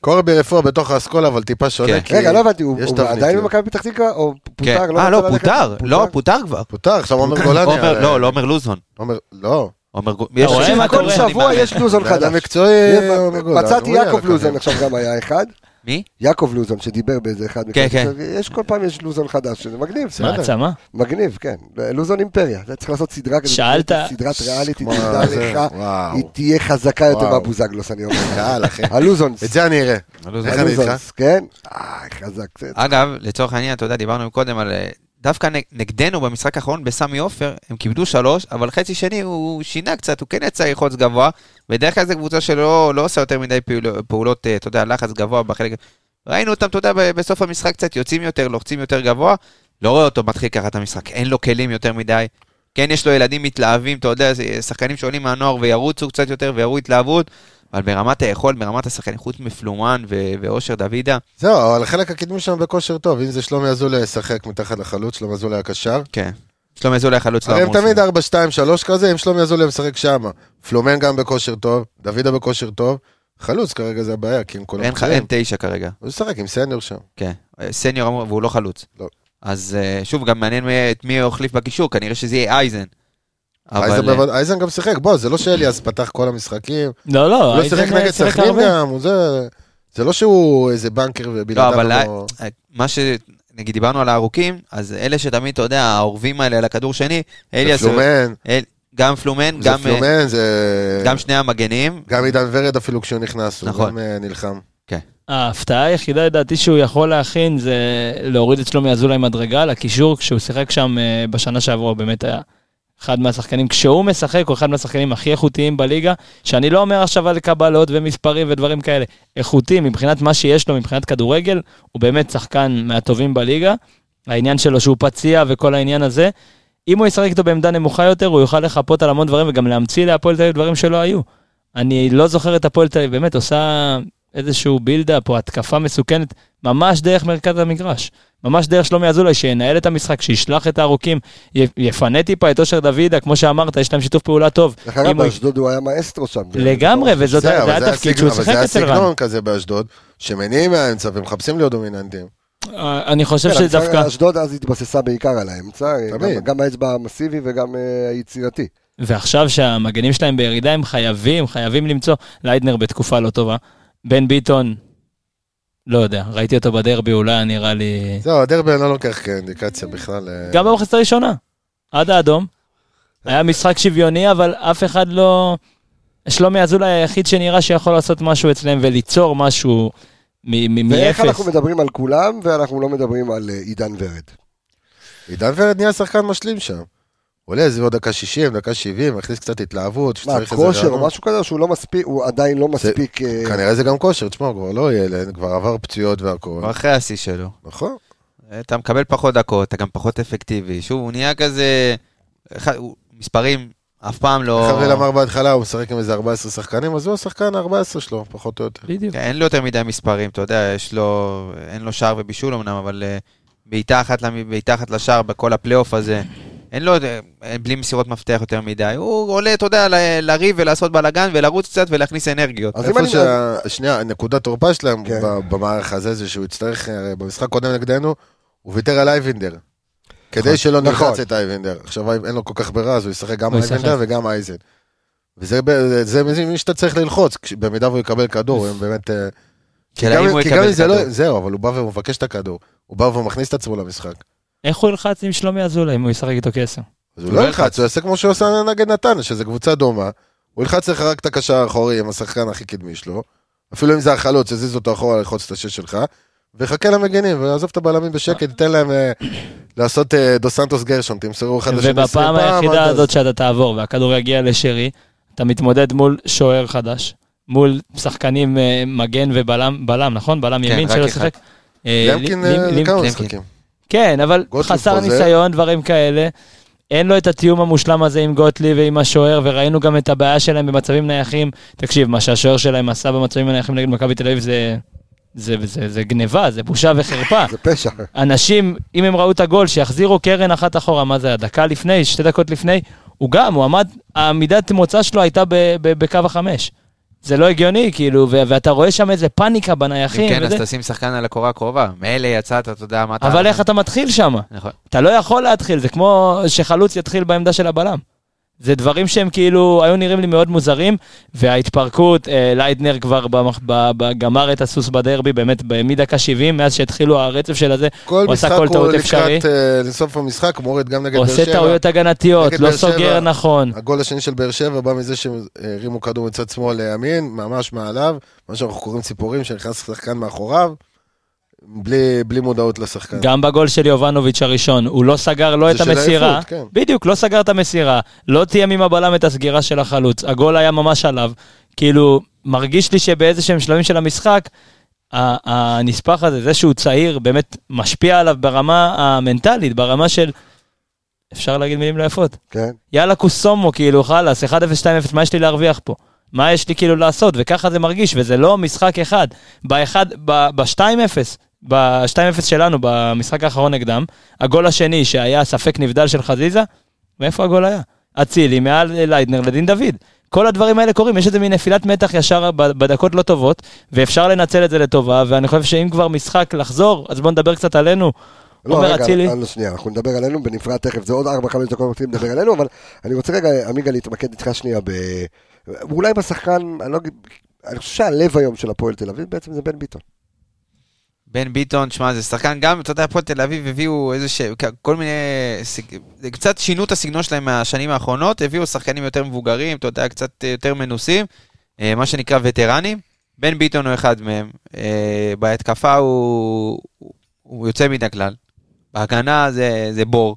S4: קורבי רפואה בתוך האסכולה, אבל טיפה שונה.
S5: כן.
S4: כי
S1: רגע, לא הבנתי, הוא
S4: יש
S1: הוא
S4: תבנית,
S1: עדיין
S4: לא.
S1: במכבי פתח תקווה, או
S5: כאילו. כן.
S1: פוטר?
S5: אה, לא,
S1: רוצה ללכת?
S5: פוטר. לא, פוטר כבר.
S4: פוטר, עכשיו עומר גולני.
S5: עומר-
S4: אה,
S5: לא, לא עומר לוזון.
S4: עומר, לא.
S5: עומר גו-
S6: אתה רואה
S5: אנשים
S6: מה
S5: שכל
S6: קורה?
S1: כל
S5: שנים
S1: שבוע
S5: בארץ.
S1: יש לוזון
S4: בן אדם
S1: חדש.
S4: מקצועי,
S1: אה,
S4: עומר גולני.
S1: מצאתי
S4: הוא יהיה על
S1: יעקב
S4: הקו.
S1: לוזון עכשיו גם היה אחד,
S5: מי?
S1: יעקב לוזון שדיבר באיזה אחד, מכאן.
S5: כן.
S1: יש כל פעם יש לוזון חדש, שזה מגניב,
S6: מעצמה.
S1: מגניב, כן, לוזון אימפריה, זה צריך לעשות סדרה כזאת,
S6: שאלת-
S1: סדרת ריאליטי,
S4: כמו
S1: תדע
S4: זה,
S1: לך,
S4: וואו.
S1: היא תהיה חזקה יותר
S4: וואו.
S1: מהבוזגלוס, אני אומר, לך.
S4: קהל, אחי.
S1: הלוזונס,
S4: את זה אני אראה. איך אני איתך?
S1: הלוזונס, כן, אה, חזק, זה-
S5: אגב, לצורך העניין, אתה יודע, דיברנו קודם על... אה, דווקא נג- נגדנו במשחק האחרון בסמי עופר, הם כיבדו שלוש, אבל חצי שני הוא שינה קצת, הוא כן יצא ללחוץ גבוה. בדרך כלל זו קבוצה שלא לא עושה יותר מדי פעול- פעולות, אה, אתה יודע, לחץ גבוה בחלק... ראינו אותם, אתה יודע, ב- בסוף המשחק קצת יוצאים יותר, לוחצים יותר גבוה, לא רואה אותו מתחיל ככה את המשחק, אין לו כלים יותר מדי. כן, יש לו ילדים מתלהבים, אתה יודע, זה שחקנים שעולים מהנוער וירוצו קצת יותר ויראו התלהבות, אבל ברמת היכולת, ברמת השחקנים, חוץ מפלומן ו- ואושר דוידה,
S4: זהו, אבל החלק הקדמי שם בכושר טוב. אם זה שלומי אזולאי ישחק מתחת לחלוץ, שלומי אזולאי הקשר.
S5: כן. שלומי אזולאי חלוץ לא
S4: הרי הם
S5: אמור
S4: תמיד
S5: לשחק.
S4: 4, 2, 3 כזה, אם שלומי אזולאי משחק שם. פלומן גם בכושר טוב, דוידה בכושר טוב. חלוץ כרגע זה הבעיה, כי עם כל
S5: אין, ח- אין תשע כרגע.
S4: הוא ישחק עם סניור שם.
S5: כן. סניור אמור, והוא לא חלוץ.
S4: לא.
S5: אז אה, שוב, גם מעניין מי- את מי הוא החליף בקישור, כנראה שזה יהיה אייזן.
S4: אייזן
S5: אבל... אה,
S4: בוודאי- אייזן גם שיחק, בוא, זה לא שאליאס פתח כל המשחקים.
S6: לא, לא,
S4: הוא לא שיחק
S6: אייזן,
S4: נגד
S6: אה, שיחק
S4: סכנין
S6: הרבה.
S4: גם, הוא זה... זה לא שהוא איזה בנקר
S5: לא,
S4: ובלעדיו
S5: אבל אה,
S4: לא...
S5: אה, מה ש... נגיד דיברנו על הארוכים, אז אלה שתמיד, אתה יודע, האורבים האלה על הכדור שני,
S4: זה
S5: אליאס...
S4: פלומן,
S5: אל- גם פלומן,
S4: זה
S5: גם, אה,
S4: פלומן, זה...
S5: גם שני המגנים.
S4: גם עידן ורד אפילו כשהוא נכנס, הוא
S5: נכון.
S4: גם אה, נלחם.
S6: ההפתעה היחידה לדעתי שהוא יכול להכין זה להוריד את שלומי אזולאי מדרגה לקישור כשהוא שיחק שם אה, בשנה שעברה, הוא באמת היה אחד מהשחקנים, כשהוא משחק הוא אחד מהשחקנים הכי איכותיים בליגה, שאני לא אומר עכשיו על קבלות ומספרים ודברים כאלה, איכותי מבחינת מה שיש לו, מבחינת כדורגל, הוא באמת שחקן מהטובים בליגה, העניין שלו שהוא פציע וכל העניין הזה, אם הוא ישחק איתו בעמדה נמוכה יותר, הוא יוכל לחפות על המון דברים וגם להמציא להפועל תל אביב דברים שלא היו. אני לא זוכר את הפועל תל אביב, באמת עושה איזשהו בילדאפ או התקפה מסוכנת, ממש דרך מרכז המגרש. ממש דרך שלומי אזולאי, שינהל את המשחק, שישלח את הארוכים, י- יפנה טיפה את אושר דוידה, כמו שאמרת, יש להם שיתוף פעולה טוב.
S1: דרך
S6: אם
S1: אגב,
S6: הוא-
S1: באשדוד הוא היה מאסטרו שם.
S6: לגמרי, וזה
S4: בסדר, אבל
S6: היה התפקיד
S4: הסגנון-
S6: שהוא
S4: אבל
S6: שיחק אצל
S4: זה
S6: רן.
S4: הסגנון כזה באשדוד, שמניעים מהאמצע ומחפשים להיות דומיננטים.
S6: אה, אני חושב
S1: כן,
S6: שזה
S1: אבל
S6: דווקא...
S1: אשדוד אז התבססה בעיקר על האמצע,
S4: תמיד.
S1: גם- גם האצבע המסיבי וגם אה, היצירתי.
S6: ועכשיו שהמגנים שלהם בירידה, הם חייבים, חייבים למצוא. ליידנר בתקופה לא טובה. בן ביטון, לא יודע, ראיתי אותו בדרבי, אולי נראה לי...
S4: זהו, הדרבי אני לא לוקח כאינדיקציה בכלל. אה,
S6: גם במחצית הראשונה, עד האדום. היה משחק שוויוני, אבל אף אחד לא... שלומי אזולאי היחיד שנראה שיכול לעשות משהו אצלם וליצור משהו מ- מ-
S1: ואיך אנחנו
S6: מאפס.
S1: מדברים על כולם, ואנחנו לא מדברים על אה, עידן ורד.
S4: עידן ורד נהיה שחקן משלים שם. עולה איזה עוד דקה 60, דקה 70, מכניס קצת התלהבות,
S1: מה,
S4: שצריך איזה
S1: כושר או
S4: רענון.
S1: משהו כזה, או שהוא לא מספיק, הוא עדיין לא מספיק... אה,
S4: כנראה זה גם כושר, תשמע, הוא כבר לא ילד, כבר עבר פציעות והכול.
S5: כבר אחרי השיא שלו.
S4: נכון.
S5: אתה מקבל פחות דקות, אתה גם פחות אפקטיבי. שוב, הוא נהיה כזה... אחד- הוא- מספרים אף פעם לא...
S4: חבל אמר בהתחלה, הוא משחק עם איזה 14 שחקנים, אז הוא השחקן ה-14 שלו, פחות או יותר.
S6: בדיוק.
S5: כן, אין לו יותר מדי מספרים, אתה יודע, יש לו, אין לו שער ובישול אמנם, אבל אה, בעיטה אחת, למ- בעיטה אחת לשער בכל הפלייאוף הזה, אין לו, אה, בלי מסירות מפתח יותר מדי. הוא עולה, אתה יודע, ל- לריב ולעשות בלאגן ולרוץ קצת ולהכניס אנרגיות.
S1: אז אם
S4: איפה
S1: אני...
S4: שה... שנייה, נקודת תורפה שלהם
S1: כן.
S4: ב- במערך הזה, זה שהוא יצטרך, הרי במשחק קודם נגדנו, הוא ויתר על אייבינדר. כדי שלא
S1: נכון.
S4: נלחץ את אייבינדר. עכשיו אי- אין לו כל כך ברירה, אז הוא ישחק גם
S6: הוא ישחק.
S4: אייבינדר וגם אייזן. וזה ב- זה מי שאתה צריך ללחוץ, כש- במידה והוא יקבל כדור, הם באמת... אה, כי
S5: אלא אם הוא
S4: גם- כי גם
S5: יקבל
S4: אם זה לא...
S5: כדור.
S4: זהו, אבל הוא בא והוא מבקש את הכדור. הוא בא והוא מכניס את עצמו למשחק.
S6: איך הוא ילחץ עם שלומי אזולאי אם הוא ישחק איתו כעשר?
S4: אז הוא לא ילחץ, הוא יעשה כמו שהוא עשה נגד נתניה, שזה קבוצה דומה. הוא ילחץ לך רק את הקשר האחורי עם השחקן הכי קדמי שלו. אפילו אם זה החלוץ, יזיז אותו אחורה ללחוץ את השש שלך. ויחכה למגנים, ויעזוב את הבלמים בשקט, תן להם אה, לעשות אה, דו סנטוס גרשון, תמסרו אחד לשני עשרים פעם,
S6: ובפעם
S4: עד
S6: היחידה
S4: אז.
S6: הזאת שאתה תעבור והכדור יגיע לשרי, אתה מתמודד מול שוער חדש, מול שחקנים אה, מגן ובלם, בלם, נכון? בלם
S5: כן,
S6: ימין
S5: רק
S6: שלא
S5: אחד.
S6: שיחק. אה,
S4: למקין,
S6: ל- ל-
S4: אה,
S6: ל-
S4: לכמה
S5: למקין.
S4: משחקים.
S6: כן, אבל
S4: גוטליב
S6: חסר
S4: חוזר.
S6: ניסיון, דברים כאלה. אין לו את התיאום המושלם הזה עם גוטליב ועם השוער, וראינו גם את הבעיה שלהם במצבים נייחים. תקשיב, מה שהשוער שלהם עשה במצבים הנייחים נגד מכבי תל אביב זה זה, זה, זה גניבה, זה בושה וחרפה.
S1: זה פשע.
S6: אנשים, אם הם ראו את הגול, שיחזירו קרן אחת אחורה, מה זה היה, דקה לפני, שתי דקות לפני, הוא גם, הוא עמד, העמידת מוצא שלו הייתה ב, ב, בקו החמש. זה לא הגיוני, כאילו, ו- ואתה רואה שם איזה פאניקה
S5: אם
S6: בנייחים,
S5: כן, אז
S6: וזה,
S5: תשים שחקן על הקורה הקרובה. מילא יצאת, אתה יודע מה אתה...
S6: אבל איך אתה מתחיל שם?
S5: נכון.
S6: אתה לא יכול להתחיל, זה כמו שחלוץ יתחיל בעמדה של הבלם. זה דברים שהם כאילו, היו נראים לי מאוד מוזרים, וההתפרקות, אה, ליידנר כבר במח, ב, ב, גמר את הסוס בדרבי, באמת, ב- מדקה 70, מאז שהתחילו הרצף של הזה,
S4: כל
S6: הוא עשה
S4: משחק
S6: כל
S4: הוא
S6: טעות אפשרי.
S4: לקראת אה, לסוף המשחק, מורד גם נגד באר שבע.
S6: עושה טעויות הגנתיות,
S4: נגד
S6: לא
S4: באר שבע.
S6: סוגר נכון.
S4: הגול השני של באר שבע בא מזה שהם אה, הרימו כדור מצד שמאל לימין, ממש מעליו, מה שאנחנו קוראים ציפורים, שנכנס שחקן מאחוריו, בלי, בלי מודעות לשחקן.
S6: גם בגול של יובנוביץ' הראשון, הוא לא סגר
S4: זה
S6: לא את
S4: של
S6: המסירה,
S4: עייפות, כן.
S6: בדיוק, לא סגר את המסירה, לא תיאם עם הבלם את הסגירה של החלוץ, הגול היה ממש עליו. כאילו, מרגיש לי שבאיזה שהם שלבים של המשחק, ה- הנספח הזה, זה שהוא צעיר, באמת משפיע עליו ברמה המנטלית, ברמה של... אפשר להגיד מילים לא יפות.
S1: כן.
S6: יאללה קוסומו, כאילו, חלאס, 1-0, 2-0, מה יש לי להרוויח פה? מה יש לי כאילו לעשות? וככה זה מרגיש, וזה לא משחק אחד. באחד, ב- ב-2-0, ב-2-0 שלנו, במשחק האחרון נגדם, הגול השני, שהיה ספק נבדל של חזיזה, מאיפה הגול היה? אצילי, מעל ליידנר לדין דוד. כל הדברים האלה קורים, יש איזה מין נפילת מתח ישר ב- בדקות לא טובות, ואפשר לנצל את זה לטובה, ואני חושב שאם כבר משחק לחזור, אז בואו נדבר קצת עלינו.
S1: לא,
S6: עומר
S1: רגע,
S6: אצילי.
S1: לא, שנייה, אנחנו נדבר עלינו בנפרד תכף, זה עוד 4-5 דקות אנחנו רוצים לדבר עלינו, אבל אני רוצה רגע, עמיגה, להתמקד איתך שנייה ב... אולי בשחקן, אני לא אגיד... אני חושב שהלב היום של הפועל תל אביב בעצם זה בן ביטון.
S5: אה, בן ביטון, שמע, זה שחקן גם, אתה יודע, הפועל תל אביב הביאו איזה ש... כ- כל מיני... סג- זה קצת שינו את הסגנון שלהם מהשנים האחרונות, הביאו שחקנים יותר מבוגרים, אתה יודע, קצת אה, יותר מנוסים, אה, מה שנקרא וטרנים. בן ביטון הוא אחד מהם. אה, בהתקפה הוא, הוא- הוא יוצא מן הכלל. בהגנה זה, זה בור.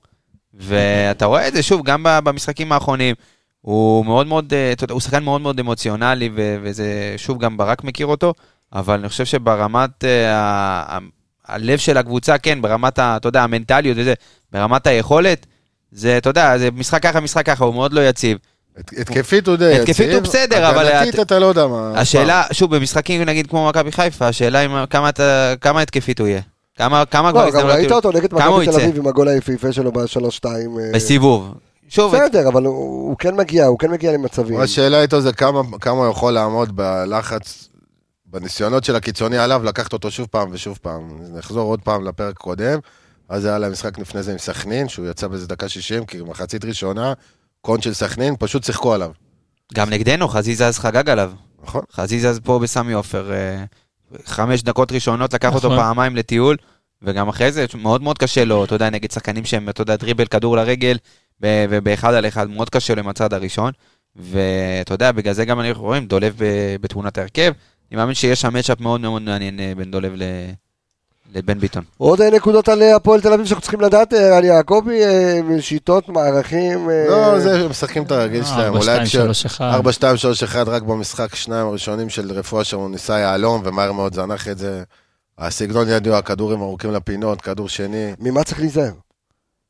S5: ואתה רואה את זה שוב, גם ב- במשחקים האחרונים. הוא מאוד מאוד, אה, אתה יודע, הוא שחקן מאוד מאוד אמוציונלי, ו- וזה, שוב, גם ברק מכיר אותו. אבל אני חושב שברמת אה, ה- ה- הלב של הקבוצה, כן, ברמת, ה- אתה יודע, המנטליות וזה, ברמת היכולת, זה, אתה יודע, זה משחק ככה, משחק ככה, הוא מאוד לא יציב.
S4: הת- התקפית הוא די יציב.
S5: התקפית הוא בסדר, אבל-
S4: הגנתית אתה לא יודע
S1: נכון.
S4: מה.
S5: השאלה, שוב, במשחקים, נגיד, כמו מכבי חיפה, השאלה אם, כמה, אתה, כמה התקפית הוא יהיה. כמה, כמה
S1: לא, גם ראית
S5: הוא-
S1: אותו נגד
S5: כמה הוא
S1: מכבי תל
S5: יצא?
S1: אביב עם הגול היפהפה שלו ב-3-2. אה,
S5: בסיבוב. שוב,
S1: בסדר, אבל הוא הוא כן מגיע, הוא כן מגיע למצבים.
S4: אבל השאלה איתו זה כמה, כמה הוא יכול לעמוד בלחץ, בניסיונות של הקיצוני עליו, לקחת אותו שוב פעם ושוב פעם. נחזור עוד פעם לפרק קודם, אז היה להם משחק לפני זה עם סכנין, שהוא יצא באיזה דקה 60, כי מחצית ראשונה, קונט של סכנין, פשוט שיחקו עליו.
S5: גם נגדנו, חזיזה אז חגג עליו.
S4: נכון.
S5: חזיזה אז פה בסמי עופר, אה, חמש דקות ראשונות לקח אותו
S6: נכון.
S5: פעמיים לטיול, וגם אחרי זה מאוד מאוד קשה לו, אתה יודע, נגד שחקנים שהם, אתה יודע, דריבל, כדור לרגל, ב- ובאחד על אחד מאוד קשה לו עם הצד הראשון, ואתה יודע, בגלל זה גם אנחנו רואים דולב ב- בתמונת ההרכב, אני מאמין שיש שם מצ'אפ מאוד מאוד מעניין אה, בין דולב ל- לבן ביטון.
S1: עוד אה, נקודות על אה, הפועל תל אביב שאנחנו צריכים לדעת, אה, על יעקבי, אה, שיטות, מערכים. אה,
S4: לא, זה הם משחקים את הרגיל שלהם.
S6: אה, ארבע,
S4: אולי
S6: שתיים,
S4: כש...
S6: שלוש, אחד.
S4: 4, 2, 3, 1, רק במשחק שניים הראשונים של רפואה שם הוא ניסה יהלום, ומהר מאוד זנח את זה. הסגנון ידוע, הכדורים ארוכים לפינות, כדור שני.
S1: ממה צריך להיזהר?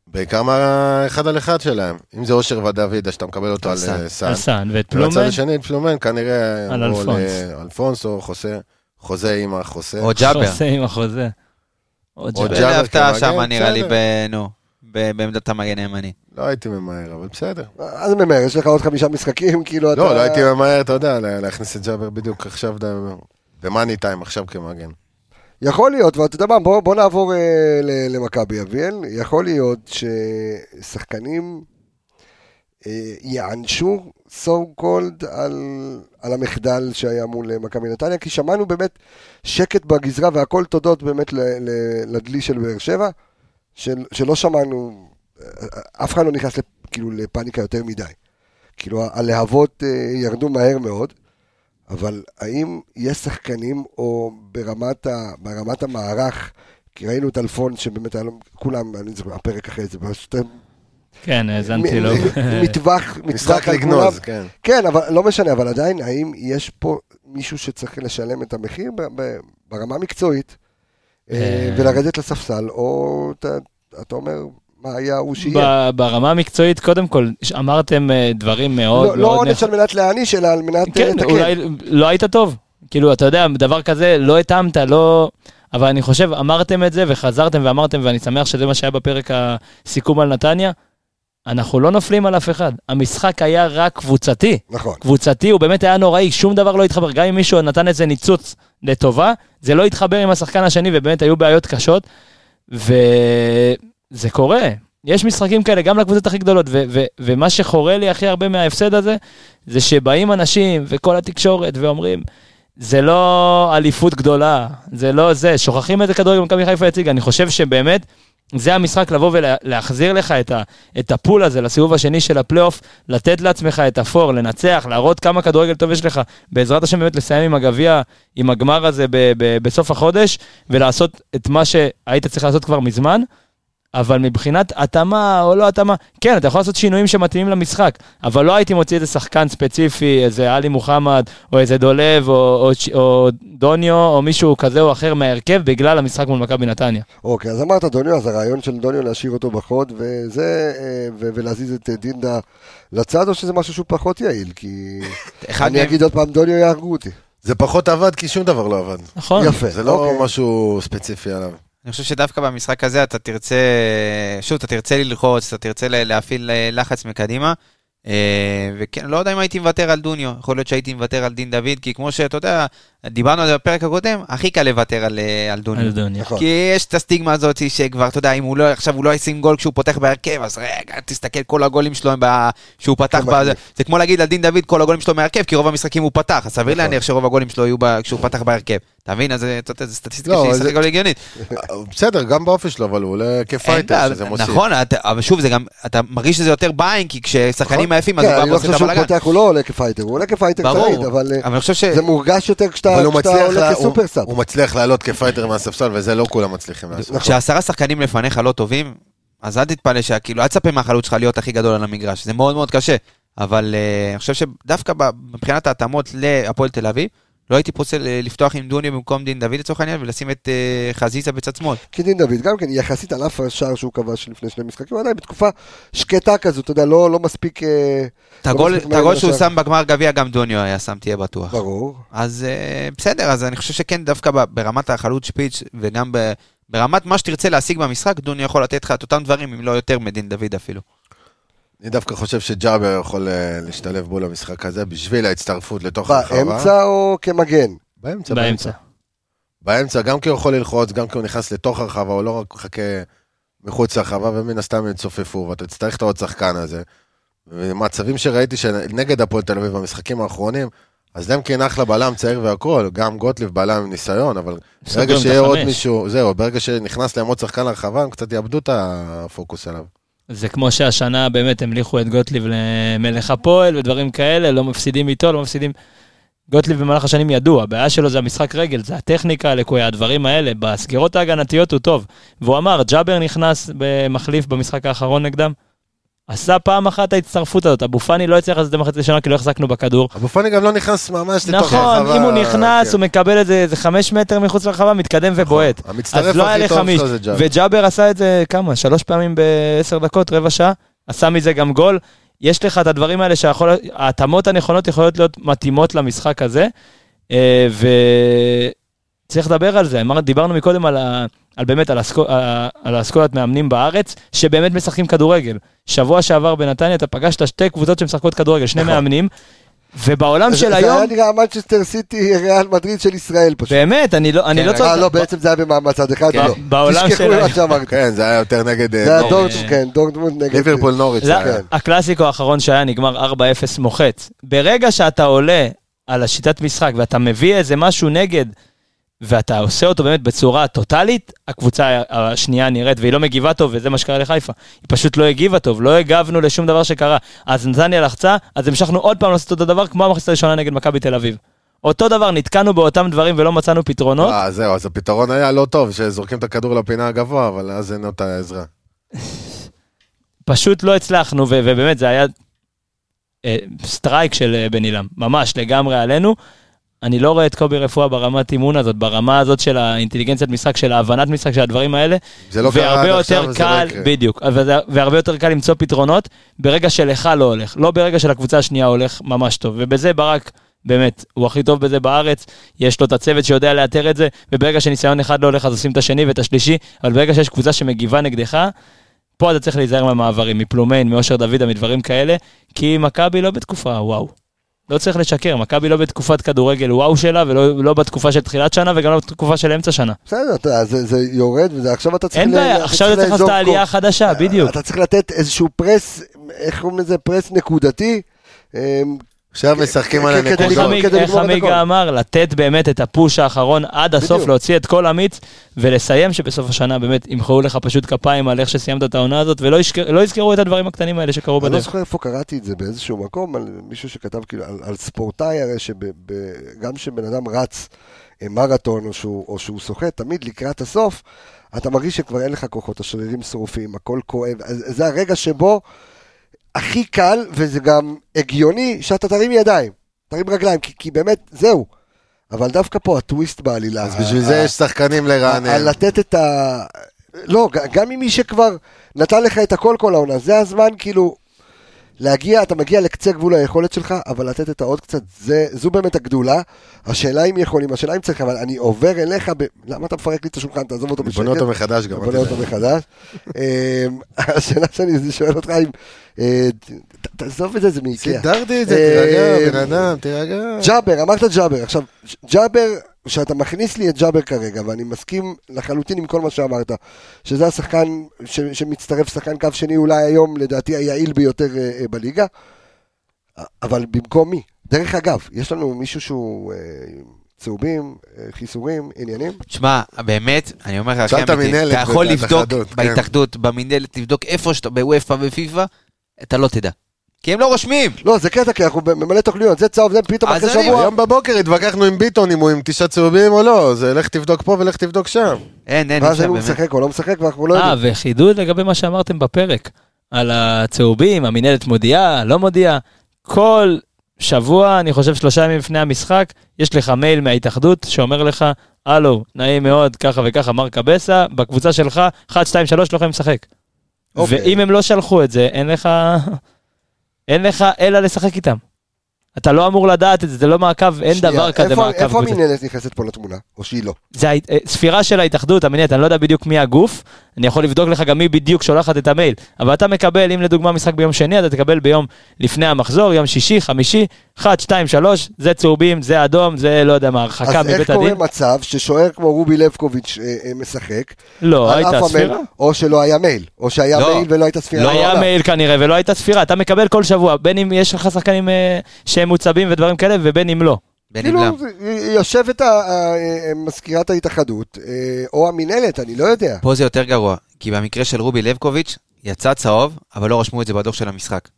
S4: בעיקר מהאחד על אחד שלהם. אם זה אושר ודוידה, שאתה מקבל אותו על
S5: על סאן.
S4: אה, סאן.
S6: אלסן ואת
S4: ובצד
S6: פלומן,
S4: השני, את פלומן, כנראה...
S6: על
S4: או
S6: אלפונס.
S4: לאלפונס או חוסה, חוזה עם החוסה.
S5: או ג'אבר.
S6: חוסה עם החוזה. או
S4: או
S6: ג'אבר.
S4: ג'אבר
S5: אלה הפתעה
S4: כמגן,
S5: שם, נראה לי,
S4: בסדר.
S5: ב- נו, ב- בעמדת המגן הימני.
S4: לא הייתי ממהר, אבל בסדר.
S1: אה, אז ממהר, יש לך עוד חמישה משחקים, כאילו אתה...
S4: לא, לא הייתי ממהר, אתה יודע, לה- להכניס את ג'אבר בדיוק עכשיו, במאני טיים, עכשיו כמגן.
S1: יכול להיות, ואתה יודע מה, בוא, בוא נעבור אה, ל- למכבי אביאל. יכול להיות ששחקנים אה, יענשו so called על, על המחדל שהיה מול אה, מכבי נתניה, כי שמענו באמת שקט בגזרה והכל תודות באמת ל, ל, לדלי של באר שבע, של, שלא שמענו, אה, אה, אף אחד לא נכנס לפ, כאילו לפאניקה יותר מדי. כאילו ה- הלהבות אה, ירדו מהר מאוד. אבל האם יש שחקנים, או ברמת, ה, ברמת המערך, כי ראינו את אלפון, שבאמת היה לו, כולם, אני זוכר, הפרק אחרי זה, פשוט...
S6: כן, האזנתי לו.
S1: מ- מטווח, מטווח
S4: משחק
S1: על כולם.
S4: לגנוז, כן.
S1: כן, אבל לא משנה, אבל עדיין, האם יש פה מישהו שצריך לשלם את המחיר ב- ב- ברמה המקצועית, אה,
S6: אה.
S1: ולרדת לספסל, או אתה, אתה אומר, מה היה הוא שיהיה?
S6: ב- ברמה המקצועית, קודם כל, ש- אמרתם אה, דברים מאוד
S1: לא
S6: מאוד...
S1: לא עונש
S6: נכ-
S1: על מנת להעניש, אלא על מנת אה,
S6: כן,
S1: לתקן.
S6: אולי לא היית טוב. כאילו, אתה יודע, דבר כזה, לא התאמת, לא... אבל אני חושב, אמרתם את זה וחזרתם ואמרתם, ואני שמח שזה מה שהיה בפרק הסיכום על נתניה. אנחנו לא נופלים על אף אחד. המשחק היה רק קבוצתי.
S1: נכון.
S6: קבוצתי, הוא באמת היה נוראי, שום דבר לא התחבר. גם אם מישהו נתן איזה ניצוץ לטובה, זה לא התחבר עם השחקן השני, ובאמת היו בעיות קשות. וזה קורה. יש משחקים כאלה גם לקבוצות הכי גדולות, ו- ו- ומה שחורה לי הכי הרבה מההפסד הזה, זה שבאים אנשים וכל התקשורת ואומרים, זה לא אליפות גדולה, זה לא זה, שוכחים איזה כדורגל מכבי חיפה הציגה. אני חושב שבאמת, זה המשחק לבוא ולהחזיר לך את, ה- את הפול הזה לסיבוב השני של הפלייאוף, לתת לעצמך את הפור, לנצח, להראות כמה כדורגל טוב יש לך. בעזרת השם באמת לסיים עם הגביע, עם הגמר הזה ב- ב- בסוף החודש, ולעשות את מה שהיית צריך לעשות כבר מזמן. אבל מבחינת התאמה או לא התאמה, כן, אתה יכול לעשות שינויים שמתאימים למשחק, אבל לא הייתי מוציא איזה שחקן ספציפי, איזה עלי מוחמד, או איזה דולב, או, או, או דוניו, או מישהו כזה או אחר מההרכב, בגלל המשחק מול מכבי נתניה.
S1: אוקיי, אז אמרת דוניו, אז הרעיון של דוניו להשאיר אותו בחוד, וזה, אה, ו- ולהזיז את אה, דינדה לצד, או שזה משהו שהוא פחות יעיל? כי
S5: אחד
S1: אני
S5: מהם,
S1: אגיד עוד פעם, דוניו יהרגו אותי.
S4: זה פחות עבד כי שום דבר לא עבד.
S6: נכון.
S1: יפה,
S4: זה לא
S1: אוקיי.
S4: משהו ספציפי עליו.
S5: אני חושב שדווקא במשחק הזה אתה תרצה, שוב, אתה תרצה ללחוץ, אתה תרצה ל- להפעיל אה, לחץ מקדימה. אה, וכן, לא יודע אם הייתי מוותר על דוניו, יכול להיות שהייתי מוותר על דין דוד, כי כמו שאתה יודע, דיברנו על זה בפרק הקודם, הכי קל לוותר על, אה, על דוניו.
S6: על דוניו.
S1: נכון.
S5: כי יש את הסטיגמה הזאת שכבר, אתה יודע, אם הוא לא, עכשיו הוא לא ישים גול כשהוא פותח בהרכב, אז רגע, תסתכל, כל הגולים שלו הם ב- שהוא פתח,
S4: כן,
S1: הוא
S5: ב-
S1: מחליף.
S5: זה כמו להגיד על דין דוד, כל הגולים שלו מהרכב, כי רוב המשחקים הוא פתח, אז
S4: נכון.
S5: סביר להניח שרוב הגולים שלו יהיו ב- כשהוא פתח בהרכב. אתה מבין? אז זה- אתה יודע, זו סטטיסטיקה
S4: לא,
S5: שהיא
S4: זה-
S5: סך הכל הגיונית.
S4: בסדר, גם באופי שלו, אבל הוא עולה
S5: אין
S4: כפייטר, שזה
S5: בעיה,
S4: מוסיף.
S5: נכון, אתה- אבל שוב, זה גם, אתה מרגיש שזה יותר ביינג, כי כששחקנים עייפים, אז
S1: כן,
S5: הוא
S1: אני
S5: גם
S1: לא
S5: עושה
S1: חושב
S5: את
S1: שהוא
S5: הבלאגן.
S1: פותח, הוא לא עולה כפייטר, הוא עולה כפייטר
S5: ברור.
S1: תמיד, אבל אה,
S5: אבל אני חושב ש...
S1: זה מורגש יותר כשאתה
S4: אבל הוא
S1: כשאתה
S4: מצליח לה-
S1: עולה
S4: הוא-
S1: כסופרסאב.
S4: הוא מצליח לעלות כפייטר מהספסל, וזה לא כולם מצליחים
S1: נכון.
S4: לעשות.
S5: כשעשרה שחקנים לפניך לא טובים, אז אל תתפלא שה- כאילו, אל תצפה מהחלוץ שלך להיות הכי גדול על המגרש, זה מאוד מאוד קשה. אבל אה, אני חושב שדווקא ב- מבחינת ההתאמות להפועל תל אביב, לא הייתי פוסל אה, לפתוח עם דוני במקום דין דוד לצורך העניין, ולשים את אה, חזיזה בצד שמאל.
S1: כי דין דוד גם כן, יחסית על אף השער שהוא כבש לפני שני משחקים, הוא עדיין בתקופה שקטה כזו, אתה יודע, לא לא מספיק... אה,
S5: את הגול
S1: מספיק
S5: את הגול
S1: מהר
S5: שהוא
S1: לשער.
S5: שם בגמר גביע, גם דוניו היה שם, תהיה בטוח.
S1: ברור.
S5: אז אה, בסדר, אז אני חושב שכן, דווקא ב- ברמת החלוץ שפיץ, וגם ב- ברמת מה שתרצה להשיג במשחק, דוני יכול לתת לך את אותם דברים, אם לא יותר מדין דוד אפילו.
S4: אני דווקא חושב שג'אבר יכול אה, להשתלב בו למשחק הזה, בשביל ההצטרפות לתוך הרחבה.
S1: באמצע או כמגן?
S4: באמצע,
S6: באמצע.
S4: באמצע. באמצע, גם כי הוא יכול ללחוץ, גם כי הוא נכנס לתוך הרחבה, הוא לא רק מחכה מחוץ לרחבה, ומן הסתם הם צופפו, ואתה תצטרך את העוד שחקן הזה. ומצבים שראיתי שנגד הפועל תל אביב במשחקים האחרונים, אז למקין אחלה בלם צעיר והכול, גם גוטליב בלם עם ניסיון, אבל ברגע
S6: סוגרים את
S4: שיהיה עוד
S6: החמש.
S4: מישהו, זהו, ברגע שנכנס להם עוד שחקן לרחבה, הם קצת יאבדו את הפוקוס עליו.
S6: זה כמו שהשנה באמת המליכו את גוטליב למלך הפועל ודברים כאלה, לא מפסידים איתו, לא מפסידים... גוטליב במהלך השנים ידוע, הבעיה שלו זה המשחק רגל, זה הטכניקה הלקויה, הדברים האלה. בסגירות ההגנתיות הוא טוב. והוא אמר, ג'אבר נכנס במחליף במשחק האחרון נגדם, עשה פעם אחת ההצטרפות הזאת, אבו פאני לא הצליח לעשות את זה מחצית ראשונה כי לא החזקנו בכדור.
S4: אבו פאני גם לא נכנס ממש לתוך הרחבה.
S6: נכון, אם הוא נכנס,
S4: כן.
S6: הוא מקבל איזה איזה חמש מטר מחוץ לרחבה, מתקדם ובועט. אז
S4: המצטרף
S6: לא היה
S4: הכי
S6: לך
S4: טוב
S6: מיש.
S4: שלו זה ג'אבר.
S6: וג'אבר עשה את זה כמה? שלוש פעמים בעשר דקות, רבע שעה? עשה מזה גם גול. יש לך את הדברים האלה שיכול... ההתאמות הנכונות יכולות להיות מתאימות למשחק הזה. אה, וצריך לדבר על זה. אמר- דיברנו מקודם על, ה... על באמת, על, הסקו... אה, על האסכולת מאמנים בארץ, שבאמת משחקים כדורגל. שבוע שעבר בנתניה אתה פגשת שתי קבוצות שמשחקות כדורגל, שני מאמנים. ובעולם
S1: נכון. זה-
S6: של
S1: זה
S6: היום,
S1: היה נראה מנצ'סטר סיטי, ריאל מדריד של ישראל פשוט.
S6: באמת, אני לא, אני
S5: כן,
S6: לא
S5: רגע.
S6: צריך...
S1: אה, לא, בעצם זה היה במעמד צד אחד,
S5: כן.
S1: לא.
S6: בעולם
S1: תשכחו
S6: של-
S1: ממה שאמרת.
S4: כן, זה היה יותר נגד... אה,
S1: זה היה
S4: נוריץ'.
S1: דורטמונד, כן, דורטמונד נגד...
S4: ליברפול נוריץ'. כן.
S6: זה-
S4: זה היה.
S6: הקלאסיקו האחרון שהיה נגמר 4-0 מוחץ. ברגע שאתה עולה על השיטת משחק ואתה מביא איזה משהו נגד, ואתה עושה אותו באמת בצורה טוטאלית, הקבוצה השנייה נראית והיא לא מגיבה טוב, וזה מה שקרה לחיפה. היא פשוט לא הגיבה טוב, לא הגבנו לשום דבר שקרה. אז נתניה לחצה, אז המשכנו עוד פעם לעשות אותו דבר כמו המחצית הראשונה נגד מכבי תל אביב. אותו דבר, נתקענו באותם דברים ולא מצאנו פתרונות.
S4: אה, זהו, אז הפתרון היה לא טוב, שזורקים את הכדור לפינה הגבוה, אבל אז אין אותה עזרה.
S6: פשוט לא הצלחנו, ו- ובאמת זה היה אה, סטרייק של אה, בן עילם, ממש לגמרי עלינו. אני לא רואה את קובי רפואה ברמת אימון הזאת, ברמה הזאת של האינטליגנציית משחק, של ההבנת משחק, של הדברים האלה.
S4: זה לא קרה עד
S6: והרבה
S4: עכשיו,
S6: יותר
S4: אז זה לא
S6: קל,
S4: יקרה.
S6: בדיוק, וזה- והרבה יותר קל למצוא פתרונות ברגע שלך לא הולך, לא ברגע שלקבוצה השנייה הולך ממש טוב, ובזה ברק באמת, הוא הכי טוב בזה בארץ, יש לו את הצוות שיודע לאתר את זה, וברגע שניסיון אחד לא הולך אז עושים את השני ואת השלישי, אבל ברגע שיש קבוצה שמגיבה נגדך, פה אתה צריך להיזהר מהמעברים, מפלומיין, מאושר דוידה, מדברים כאלה, כי מכבי לא בתקופה וואו. לא צריך לשקר, מכבי לא בתקופת כדורגל וואו שלה, ולא לא בתקופה של תחילת שנה, וגם לא בתקופה של אמצע שנה.
S1: בסדר, אתה יודע, זה, זה יורד, ועכשיו אתה צריך...
S6: אין
S1: ל-
S6: בעיה,
S1: אתה
S6: עכשיו אתה צריך לעשות
S1: לאזור
S6: את העלייה
S1: כוח.
S6: החדשה, בדיוק.
S1: אתה צריך לתת איזשהו פרס, איך קוראים לזה? פרס נקודתי. אמ,
S4: עכשיו משחקים על
S1: כ- כ- כדי
S6: איך
S1: לגמור-
S4: הנקודות.
S6: עמיג-
S1: כדי
S6: איך
S1: לגמור את
S6: עמיגה
S1: הכל.
S6: אה, אמר, לתת באמת את הפוש האחרון עד הסוף,
S1: בדיוק.
S6: להוציא את כל המיץ, ולסיים שבסוף השנה באמת ימחאו לך פשוט כפיים על איך שסיימת את העונה הזאת, ולא ישכ- לא יזכרו את הדברים הקטנים האלה שקרו
S1: אני לא
S6: בדרך.
S1: זוכר איפה קראתי את זה, באיזשהו מקום, על מישהו שכתב כאילו, על, על ספורטאי הרי, שגם כשבן אדם רץ אה, מרתון או שהוא, או שהוא שוחה, תמיד לקראת הסוף, אתה מרגיש שכבר אין לך כוחות, השרירים שרופים, הכל כואב, אז זה הרגע שבו הכי קל, וזה גם הגיוני, שאתה תרים ידיים, תרים רגליים, כי, כי באמת, זהו. אבל דווקא פה הטוויסט בעלילה.
S4: אז בשביל זה יש שחקנים
S1: על
S4: לרענן.
S1: לתת את ה... לא, ג- גם עם מי שכבר נתן לך את הכל כל העונה, זה הזמן כאילו להגיע, אתה מגיע לקצה גבול היכולת שלך, אבל לתת את העוד קצת, זה, זו באמת הגדולה. השאלה אם יכולים, השאלה אם צריך, אבל אני עובר אליך, ב... למה אתה מפרק לי את השולחן, תעזוב אותו
S4: אני בונה
S1: בשקט.
S4: אותו מחדש גם.
S1: בונה אותו מחדש. אמ, השאלה שאני שואל אותך אם... אה, ת- תעזוב את זה, זה מאיקאה.
S4: סידרתי את זה,
S1: אה,
S4: תירגע, בן אדם, תירגע.
S1: ג'אבר, אמרת ג'אבר. עכשיו, ג'אבר, שאתה מכניס לי את ג'אבר כרגע, ואני מסכים לחלוטין עם כל מה שאמרת, שזה השחקן ש, שמצטרף, שחקן קו שני אולי היום, לדעתי היעיל ביותר אה, אה, בליגה, אבל במקום מי? דרך אגב, יש לנו מישהו שהוא אה, צהובים, אה, חיסורים, עניינים?
S5: תשמע, באמת, אני אומר לך, הכי
S4: שאלת
S5: אמיתי,
S4: מינהלת
S5: אתה יכול
S4: ואת
S5: לבדוק
S4: ההתאחדות, כן.
S5: בהתאחדות, במינהלת, לבדוק איפה שאתה, בוופא ופיפא, אתה לא תדע. כי הם לא רושמים.
S1: לא, זה קטע, כי אנחנו במלא תוכניות, זה צהוב, זה פתאום
S5: אז
S1: אחרי
S5: אני-
S1: שבוע.
S4: היום בבוקר התווכחנו עם ביטון אם הוא עם תשעה צהובים או לא, זה לך תבדוק פה ולך תבדוק שם.
S5: אין, אין, אי
S1: ואז
S5: אפשר
S1: אם הוא
S5: באמת.
S1: משחק או לא משחק, ואנחנו לא
S6: אה,
S1: יודעים.
S6: וחידוד לגבי מה שאמרתם בפרק, על הצהובים, המינהלת מודיעה, לא מודיעה, כל שבוע, אני חושב שלושה ימים לפני המשחק, יש לך מייל מההתאחדות שאומר לך, הלו, נעים מאוד, ככה וככה, מר קבסה, בקבוצה שלך, 1, 2, 3, לא יכולים לשחק.
S1: אוקיי.
S6: ואם הם לא שלחו את זה, אין לך, אין לך אלא לשחק איתם. אתה לא אמור לדעת את זה, זה לא מעקב, אין
S1: שנייה,
S6: דבר כזה
S1: איפה-
S6: מעקב.
S1: איפה
S6: קבוצתי.
S1: המינהלת נכנסת פה לתמונה? או שהיא לא?
S6: זה ההת- אה, ספירה של ההתאחדות, המנהלת, אני לא יודע בדיוק מי הגוף, אני יכול לבדוק לך גם מי בדיוק שולחת את המייל, אבל אתה מקבל, אם לדוגמה משחק ביום שני, אתה תקבל ביום לפני המחזור, יום שישי, חמישי, 1, 2, 3, זה צהובים, זה אדום, זה לא יודע מה, הרחקה
S1: אז איך
S6: מבית
S1: קורה
S6: הדין.
S1: מצב ששוער כמו רובי לבקוביץ' אה, אה, משחק,
S6: לא,
S1: על
S6: הייתה
S1: אף המייל,
S6: ספירה.
S1: או שלא היה מייל, או שהיה
S5: לא.
S1: מייל ולא הייתה ספירה.
S6: לא
S1: אחרונה.
S6: היה מייל כנראה ולא הייתה ספירה, אתה מקבל כל שבוע, בין אם יש לך שחקנים אה, שהם מוצבים ודברים כאלה ובין אם לא.
S5: בין אם
S1: כאילו,
S5: לאו.
S1: זה- יושבת ה- ה- אה, מזכירת ההתאחדות, אה, או המינהלת, אני לא יודע.
S5: פה זה יותר גרוע, כי במקרה של רובי לבקוביץ', יצא צהוב, אבל לא רשמו את זה בדוח של המשחק.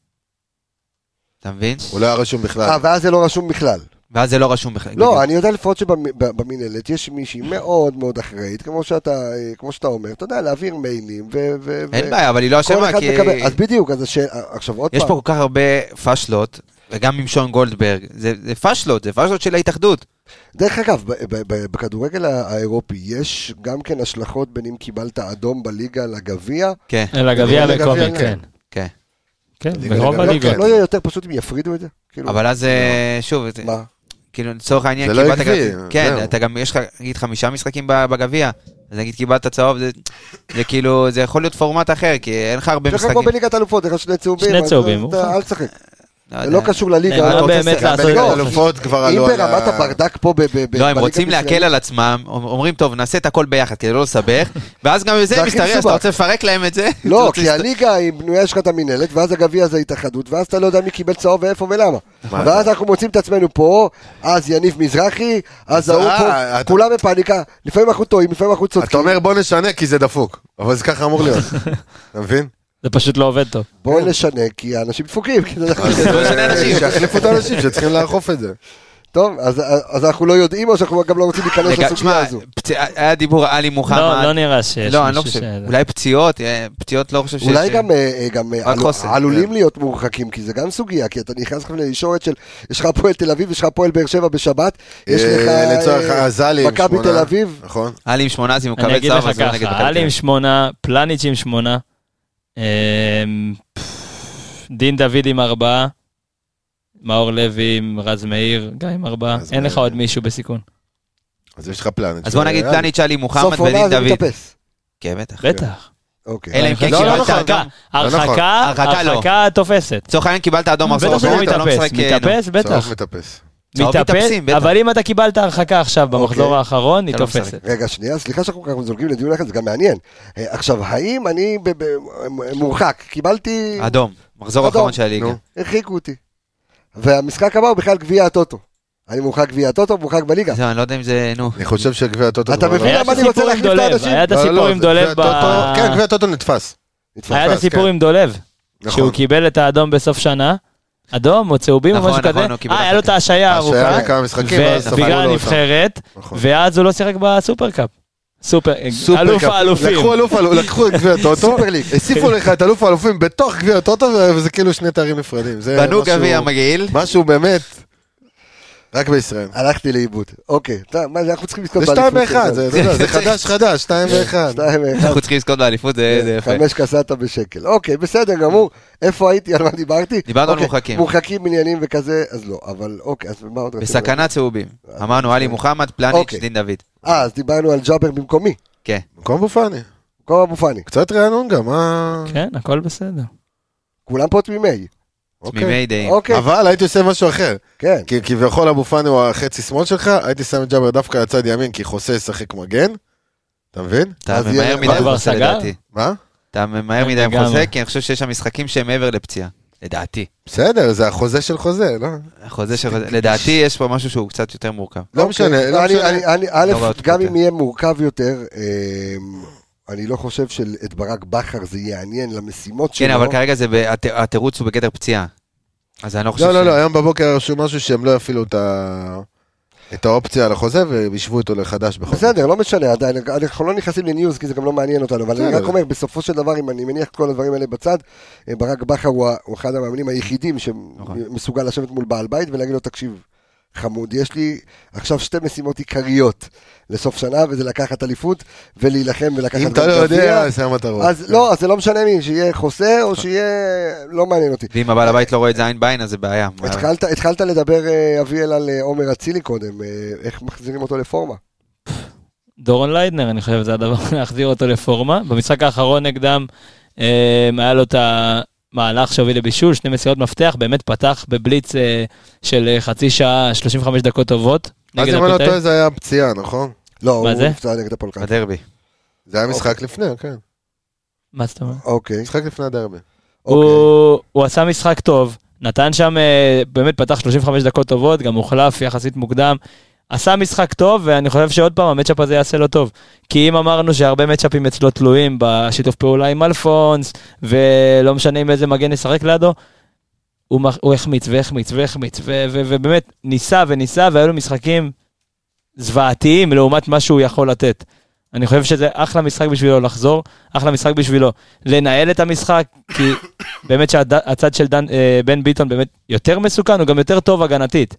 S5: אתה מבין?
S4: הוא לא היה רשום בכלל.
S1: אה, ואז זה לא רשום בכלל.
S5: ואז זה לא רשום בכלל. בדיוק.
S1: לא, אני יודע לפחות שבמינהלת יש מישהי מאוד מאוד אחראית, כמו שאתה אה, כמו שאתה אומר, אתה יודע, להעביר מיילים, ו... ו-
S5: אין
S1: ו-
S5: בעיה, אבל היא לא
S1: כל
S5: אשמה,
S1: אחד
S5: כי...
S1: מקבל. אז בדיוק, אז השאלה, עכשיו עוד
S5: יש פה
S1: פעם.
S5: כל כך הרבה פאשלות, וגם עם שון גולדברג, זה זה פאשלות, זה פאשלות של ההתאחדות.
S1: דרך אגב, ב- ב- ב- בכדורגל האירופי יש גם כן השלכות בין אם קיבלת אדום בליגה לגביע,
S5: כן,
S6: אלא גביע
S4: לגביע,
S6: המקומי,
S4: כן.
S6: כן.
S5: כן.
S6: כן,
S4: ליגה,
S6: ברוב
S4: ליגה,
S1: לא-
S6: הליגות.
S1: לא יהיה יותר פשוט אם יפרידו את זה? כאילו,
S5: אבל אז אה, שוב, זה-
S1: מה?
S5: כאילו לצורך העניין,
S4: זה לא
S5: קיבלת
S4: עקבי,
S5: גם- כן,
S4: זהו.
S5: אתה גם, יש לך, נגיד, חמישה משחקים ב- בגביע, אז נגיד קיבלת צהוב, זה- זה כאילו, זה יכול להיות פורמט אחר, כי אין לך הרבה
S1: יש לך כמו
S5: משחקים.
S1: בליגת אלופות, יש לך שני צהובים.
S6: שני
S1: אז
S6: צהובים,
S1: אתה-
S6: אוקיי.
S1: אל תשחק.
S5: לא
S1: זה
S5: יודע.
S1: לא קשור לליגה.
S6: נאמר
S1: אתה רוצה
S6: באמת
S1: לשחק.
S6: לעשות
S1: לא,
S6: את זה.
S4: אלופות כבר
S1: אם
S4: עלו על ה-
S1: ברמת הברדק פה ב- ב- ב-
S5: לא, הם
S1: בליגה
S5: רוצים להקל על עצמם, אומרים, טוב, נעשה את הכל ביחד כדי לא לסבך, ואז גם
S1: זה
S5: זה
S1: הכי
S5: מסתרע, אז אתה
S1: מסובך.
S5: רוצה לפרק להם את זה? אתה
S1: לא,
S5: רוצה
S1: כי
S5: להסת-
S1: הליגה היא בנויה, יש לך את המינהלת, ואז הגביע זה התאחדות, ואז אתה לא יודע מי קיבל צהוב ואיפה ולמה. ואז אנחנו מוצאים את עצמנו פה, אז יניב מזרחי, אז
S4: אה,
S1: ההוא פה,
S4: אתה-
S1: כולם בפאניקה, לפעמים אנחנו טועים, לפעמים אנחנו צודקים.
S4: אתה אומר בוא נשנה כי זה דפוק, אבל זה ככה אמור להיות, אתה מבין?
S6: זה פשוט לא עובד טוב.
S1: בואו נשנה, כי האנשים דפוקים. כי זה-
S5: לא משנה אנשים.
S4: שיחליפו את האנשים שצריכים לאכוף את זה.
S1: טוב, אז- אז אנחנו לא יודעים, או שאנחנו גם לא רוצים להיכנס
S5: רגע,
S1: לסוגיה
S5: תשמע,
S1: הזו.
S5: פצ- היה דיבור על עלי מוחמד.
S6: לא, לא נראה שיש
S5: לא, אני לא
S6: מישהו
S5: חושב.
S6: ש-
S5: אולי פציעות, אה, פציעות לא חושב שיש...
S1: אולי גם, אה, אה, גם אה,
S5: רק
S1: עלו-
S5: חוסן,
S4: כן.
S1: עלולים להיות מורחקים, כי זה גם סוגיה, כי אתה נכנס לך לישורת של, יש לך הפועל תל אביב, יש לך הפועל באר שבע בשבת, יש
S4: אה,
S1: לך... אה,
S4: לצורך הזלי עם
S1: מכבי
S4: שמונה,
S1: תל אביב.
S4: נכון.
S5: עלי עם שמונה, אז אם הוא
S6: אני
S5: מקבל
S6: אגיד
S5: צהוב,
S6: לך
S5: אז הוא נגד
S6: ככה,
S5: מכבי. תל
S6: עלי
S4: כן.
S6: עם
S5: אביב.
S6: שמונה, פלניץ' עם שמונה, אמ, פפ, דין דוד עם ארבעה, מאור לוי, עם רז מאיר, גם עם ארבעה.
S4: רז
S6: אין לך
S4: מאיר. כן.
S6: עוד מישהו בסיכון.
S4: אז יש לך אה, פלניץ'.
S5: אז בוא נגיד
S4: וריאלי.
S5: פלניץ', עלי מוחמד
S1: סוף עונה
S5: ודין
S1: זה
S5: דוד.
S1: מתאפס.
S5: כן, בטח.
S6: בטח.
S1: אוקיי.
S5: אלא אם כן
S4: לא, לא
S5: קיבלת
S4: נכון,
S5: אדום.
S4: גם- לא נכון.
S6: הרחקה,
S5: הרחקה לא.
S6: הרחקה תופסת.
S5: לצורך העניין קיבלת אדום
S6: בטח
S5: מחזור
S6: שהוא
S5: אחרון, אתה לא
S6: מתאפס,
S5: משחק... נו.
S6: מתאפס, בטח.
S4: צהוב מתאפס.
S5: צהוב
S6: מתאפס,
S5: מתאפסים, בטח.
S6: אבל אם אתה קיבלת הרחקה עכשיו במחזור
S1: אוקיי.
S6: האחרון, היא
S4: כן,
S5: אתה לא משחק.
S6: תופסת.
S1: רגע, שנייה, סליחה שאנחנו ככה זולגים לדיון אחד, זה גם מעניין. אה, עכשיו, האם אני ב- ב- מורחק? קיבלתי...
S5: אדום. מחזור
S1: אדום.
S5: אחרון של הליגה.
S4: נו.
S1: הרחיקו אותי. והמשחק הבא הוא בכלל גביע הטוטו. אני מורחק גביע הטוטו, מורחק בליגה.
S5: זהו, אני לא יודע אם זה... נו.
S4: אני חושב שגביע הטוטו...
S1: אתה
S4: כבר לא-
S1: מבין
S6: היה
S1: למה
S6: את
S1: אני רוצה
S6: הסיפור עם
S1: להחליף את
S6: דולב,
S1: האנשים?
S6: היה את
S4: לא, לא,
S6: הסיפור
S4: זה
S6: עם דולב
S4: גביע הטוטו-
S6: ב-
S4: כן, גביע הטוטו נתפס.
S1: נתפס.
S6: היה את
S4: פס,
S6: הסיפור
S4: כן.
S6: עם דולב, שהוא
S4: נכון.
S6: קיבל את האדום בסוף שנה, אדום או צהובים או
S5: נכון,
S6: משהו
S5: נכון,
S6: כזה,
S5: הוא קיבל
S6: אה, היה לו את
S5: הרחקה.
S6: ההשעיה הארוכה,
S4: שהיה לכמה משחקים, כן, ואז ספגו
S6: ובגלל
S4: לו אותם.
S6: הנבחרת,
S4: נכון.
S6: ואז הוא לא שיחק בסופרקאפ. סופר,
S4: סופר
S6: אלוף
S4: קאפ.
S6: האלופים.
S4: לקחו אלוף האלופים, לקחו את גביע הטוטו, הוסיפו לך את אלוף האלופים בתוך גביע הטוטו, וזה כאילו שני תארים נפרדים. זה
S5: בנו
S4: משהו-
S5: גביע מגעיל.
S4: משהו באמת, רק בישראל.
S1: הלכתי לאיבוד. אוקיי, טוב, מה, אנחנו צריכים לזכות
S4: זה 2
S6: כן.
S4: ו-1, זה חדש חדש, 2 ו-1.
S1: 2 ו-1.
S5: אנחנו צריכים לזכות באליפות, זה זה יפה.
S1: כן, חמש קסטה בשקל. אוקיי, בסדר גמור. איפה הייתי? על מה דיברתי?
S5: דיברנו על
S1: אוקיי,
S5: מורחקים.
S1: מורחקים עניינים וכזה, אז לא. אבל אוקיי, אז מה עוד רצינו?
S5: בסכנת צהובים. אמרנו עלי מוחמד, פלניץ',
S1: אוקיי.
S5: דין דוד.
S1: אה, אז דיברנו על ג'אבר במקומי.
S5: כן.
S4: במקום בופני.
S1: במקום אבו פאני.
S4: קצת רענון גם, אה...
S6: כן, הכל בסדר.
S1: כולם פה תמימי.
S4: אוקיי.
S5: תמימי דעים.
S1: אוקיי,
S4: אבל הייתי עושה משהו אחר.
S1: כן.
S4: כי כביכול אבו פאני הוא החצי שמאל שלך, הייתי שם את ג'אבר דווקא לצד ימין, כי חוסה ישחק מגן. אתה מבין?
S5: אתה
S1: אז
S5: ממהר
S1: יהיה-
S5: מדי
S6: כבר
S5: חוסה
S6: סגר?
S5: לדעתי.
S4: מה?
S5: אתה ממהר מדי עם
S6: לגמרי.
S5: חוזה, כי אני חושב שיש שם משחקים שהם מעבר לפציעה. לדעתי.
S4: בסדר, זה החוזה של חוזה, לא?
S5: החוזה של... לדעתי יש פה משהו שהוא קצת יותר מורכב.
S4: לא
S1: אוקיי.
S4: משנה, לא
S1: אני-
S4: משנה.
S1: אני- אני- א',
S5: לא בעיות
S1: גם
S5: פוטר.
S1: אם יהיה מורכב יותר, אמ, אני לא חושב שאת ברק בכר זה יעניין למשימות שלו.
S5: כן, אבל כרגע זה... ב- הת- התירוץ הוא בגדר פציעה. אז אני לא חושב
S4: לא, לא,
S5: ש-
S4: לא, היום בבוקר רשום משהו שהם לא יפעילו את ה- את האופציה על החוזה וישבו אותו לחדש בכל זאת.
S1: בסדר, לא משנה, עדיין, אנחנו לא נכנסים לניוז כי זה גם לא מעניין אותנו, אבל אני
S4: בסדר.
S1: רק אומר, בסופו של דבר, אם אני מניח את כל הדברים האלה בצד, אה, ברק בכר הוא ה- הוא אחד המאמנים היחידים
S4: נכון.
S1: שמסוגל לשבת מול בעל בית ולהגיד לו, תקשיב, חמוד, יש לי עכשיו שתי משימות עיקריות לסוף שנה, וזה לקחת אליפות ולהילחם ולקחת
S4: אם אתה לא
S1: גם גביע.
S4: יודע, זה המטרות.
S1: אז לא, אז זה לא משנה מי, שיהיה חוסה או שיהיה... לא מעניין אותי.
S5: ואם הבעל הבית לא רואה את זה עין בעין, אז זה בעיה. מה-
S1: התחלת, התחלת לדבר, אה, אביאל, על אה, עומר אצילי קודם, אה, איך מחזירים אותו לפורמה.
S6: דורון ליידנר, אני חושב, זה הדבר, להחזיר אותו לפורמה. במשחק האחרון נגדם, אה, היה לו את המהלך שהוביל לבישול, שני מסירות מפתח, באמת פתח בבליץ אה, של אה, חצי שעה, 35 דקות טובות.
S4: אז
S6: נגד
S4: אם אני לא
S6: הפועל.
S4: טועה זה היה פציעה, נכון?
S1: לא, הוא
S6: מה זה?
S1: נפצע נגד הפועל חיפה.
S5: בדרבי.
S4: זה היה משחק לפני, כן.
S6: מה זאת אומרת?
S1: אוקיי.
S4: משחק לפני הדרבי.
S1: אוקיי.
S6: הוא, הוא עשה משחק טוב, נתן שם, אה, באמת פתח 35 דקות טובות, גם הוחלף יחסית מוקדם. עשה משחק טוב, ואני חושב שעוד פעם המצ'אפ הזה יעשה לו טוב. כי אם אמרנו שהרבה מצ'אפים אצלו תלויים בשיתוף פעולה עם אלפונס, ולא משנה עם איזה מגן ישחק לידו, הוא, מח- הוא החמיץ והחמיץ והחמיץ, ו- ו- ובאמת ניסה וניסה, והיו לו משחקים זוועתיים לעומת מה שהוא יכול לתת. אני חושב שזה אחלה משחק בשבילו לחזור, אחלה משחק בשבילו לנהל את המשחק, כי באמת שהצד של דן, אה, בן ביטון באמת יותר מסוכן, הוא גם יותר טוב הגנתית.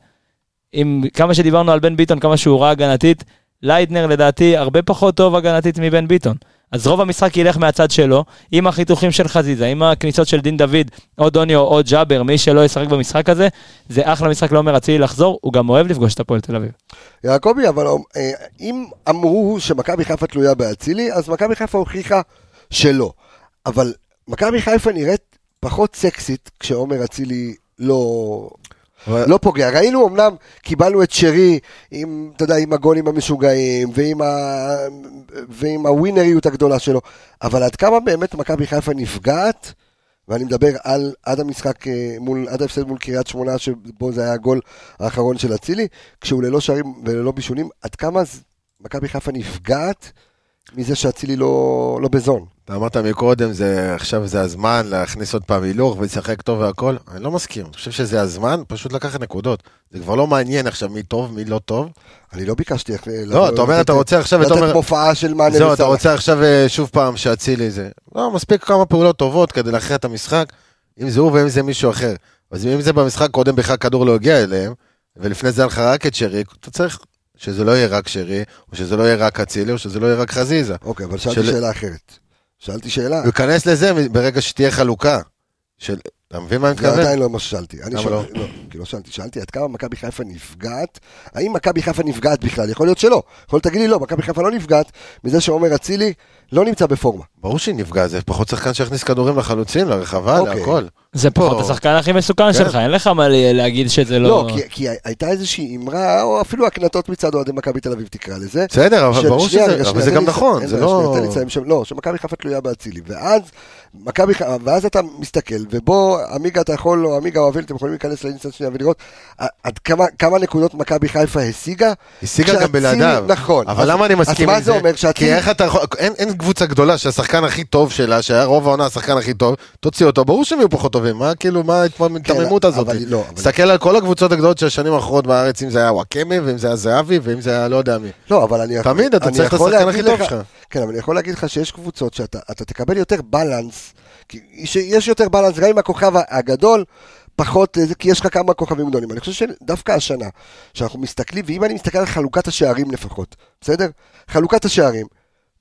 S6: עם כמה שדיברנו על בן ביטון, כמה שהוא רע הגנתית, ליידנר לדעתי הרבה פחות טוב הגנתית מבן ביטון. אז רוב המשחק ילך מהצד שלו, עם החיתוכים של חזיזה, עם הכניסות של דין דוד, או דוניו או ג'אבר, מי שלא ישחק במשחק הזה, זה אחלה משחק לעומר אצילי לחזור, הוא גם אוהב לפגוש את הפועל תל אביב.
S1: יעקבי, אבל אה, אם אמרו שמכבי חיפה תלויה באצילי, אז מכבי חיפה הוכיחה שלא. אבל מכבי חיפה נראית פחות סקסית כשעומר אצילי לא...
S4: אבל-
S1: לא פוגע. ראינו אמנם, קיבלנו את שרי עם, אתה יודע, עם הגולים המשוגעים, ועם, ה... ועם הווינריות הגדולה שלו, אבל עד כמה באמת מכבי חיפה נפגעת, ואני מדבר על עד המשחק אה, מול, עד ההפסד מול קריית שמונה, שבו זה היה הגול האחרון של אצילי, כשהוא ללא שערים וללא בישולים, עד כמה ז- מכבי חיפה נפגעת מזה שאצילי לא, לא בזון.
S4: אתה אמרת מקודם, זה- עכשיו זה הזמן להכניס עוד פעם הילוך ולשחק טוב והכל. אני לא מסכים, אני חושב שזה הזמן פשוט לקחת נקודות. זה כבר לא מעניין עכשיו מי טוב, מי לא טוב.
S1: אני לא ביקשתי... איך, אה,
S4: לא,
S1: לתת-
S4: אתה אומר, אתה רוצה עכשיו את
S1: לתת
S4: עומר...
S1: מופעה של מאנה
S4: זהו, אתה
S1: וסאלח.
S4: רוצה עכשיו אה, שוב פעם שאצילי זה. לא, מספיק כמה פעולות טובות כדי להכריע את המשחק, אם זה הוא ואם זה מישהו אחר. אז אם זה במשחק קודם בכלל כדור לא הגיע אליהם, ולפני זה היה לך רק את שרי, אתה צריך שזה לא יהיה רק שרי, או שזה לא יהיה רק אצילי, או שזה לא יהיה רק חזיזה.
S1: אוקיי, אבל שאלתי
S4: של-
S1: שאלה אחרת. שאלתי שאלה.
S4: להיכנס לזה ברגע שתהיה חלוקה. של אתה מבין מה אני
S1: זה
S4: מתכוון?
S1: עדיין לא מה ששאלתי. אני
S4: למה
S1: שואל,
S4: לא?
S1: לא, כי לא שאלתי, שאלתי עד כמה מכבי חיפה נפגעת, האם מכבי חיפה נפגעת בכלל? יכול להיות שלא. יכול להיות תגיד לי לא, מכבי חיפה לא נפגעת מזה שעומר אצילי לא נמצא בפורמה.
S4: ברור שהיא נפגעת, זה פחות שחקן שיכניס כדורים לחלוצים, לרחבה,
S1: אוקיי.
S4: להכל.
S6: זה פחות
S4: לא.
S6: השחקן הכי מסוכן שלך, אין לך מה ל- להגיד שזה
S1: לא,
S6: לא...
S1: כי, כי הייתה איזושהי אמרה, או אפילו הקנטות מצד אוהדי מכבי תל אביב תקרא לזה.
S4: בסדר, אבל
S1: של-
S4: ברור
S1: שנייה,
S4: שזה,
S1: רגע,
S4: אבל
S1: שנייה,
S4: זה
S1: תן
S4: גם
S1: לי
S4: נכון,
S1: לסיים,
S4: זה
S1: אין בעיה, שנייה,
S4: לא...
S1: תן לי לסיים שם, לא, שמכבי חיפה תלויה באצילי, ואז, מכבי חיפה, ואז אתה מסתכל, ובו עמיגה אתה יכול, או עמיגה או אביל, אתם יכולים להיכנס לאינסטנט שנייה ולראות ע- עד כמה, כמה נקודות מכבי חיפה השיגה.
S4: השיגה
S1: כשאצילי-
S4: גם בלעדיו.
S1: נכון.
S4: אבל
S1: אז-
S4: למה אני מסכים
S1: אז
S4: עם
S1: מה זה אומר?
S4: כי
S1: שאצילי...
S4: איך אתה יכול... אין, אין קבוצה גדולה שהשחקן הכי טוב שלה, שהיה רוב העונה השחקן הכי טוב, תוציא אותו, ברור שהם יהיו פחות טובים. מה כאילו, מה ההתמממות
S1: כן,
S4: הזאת?
S1: אבל לא, אבל-
S4: תסתכל על כל הקבוצות הגדולות של השנים האחרונות בארץ, אם זה היה וואקמה, ואם זה היה זהבי, ואם זה היה לא יודע מי.
S1: לא, אבל אני...
S4: תמיד אתה
S1: אני
S4: צריך את
S1: יכול
S4: השחקן
S1: להגיד
S4: הכי טוב
S1: לך-
S4: שלך.
S1: כן, אבל אני יכול להגיד לך שיש קבוצות שאתה אתה תקבל יותר בלנס, כי שיש יותר בלנס גם עם הכוכב הגדול. פחות, אה, זה- כי יש לך כמה כוכבים גדולים. אני חושב שדווקא השנה, שאנחנו מסתכלים, ואם אני מסתכל על חלוקת השערים לפחות, בסדר? חלוקת השערים.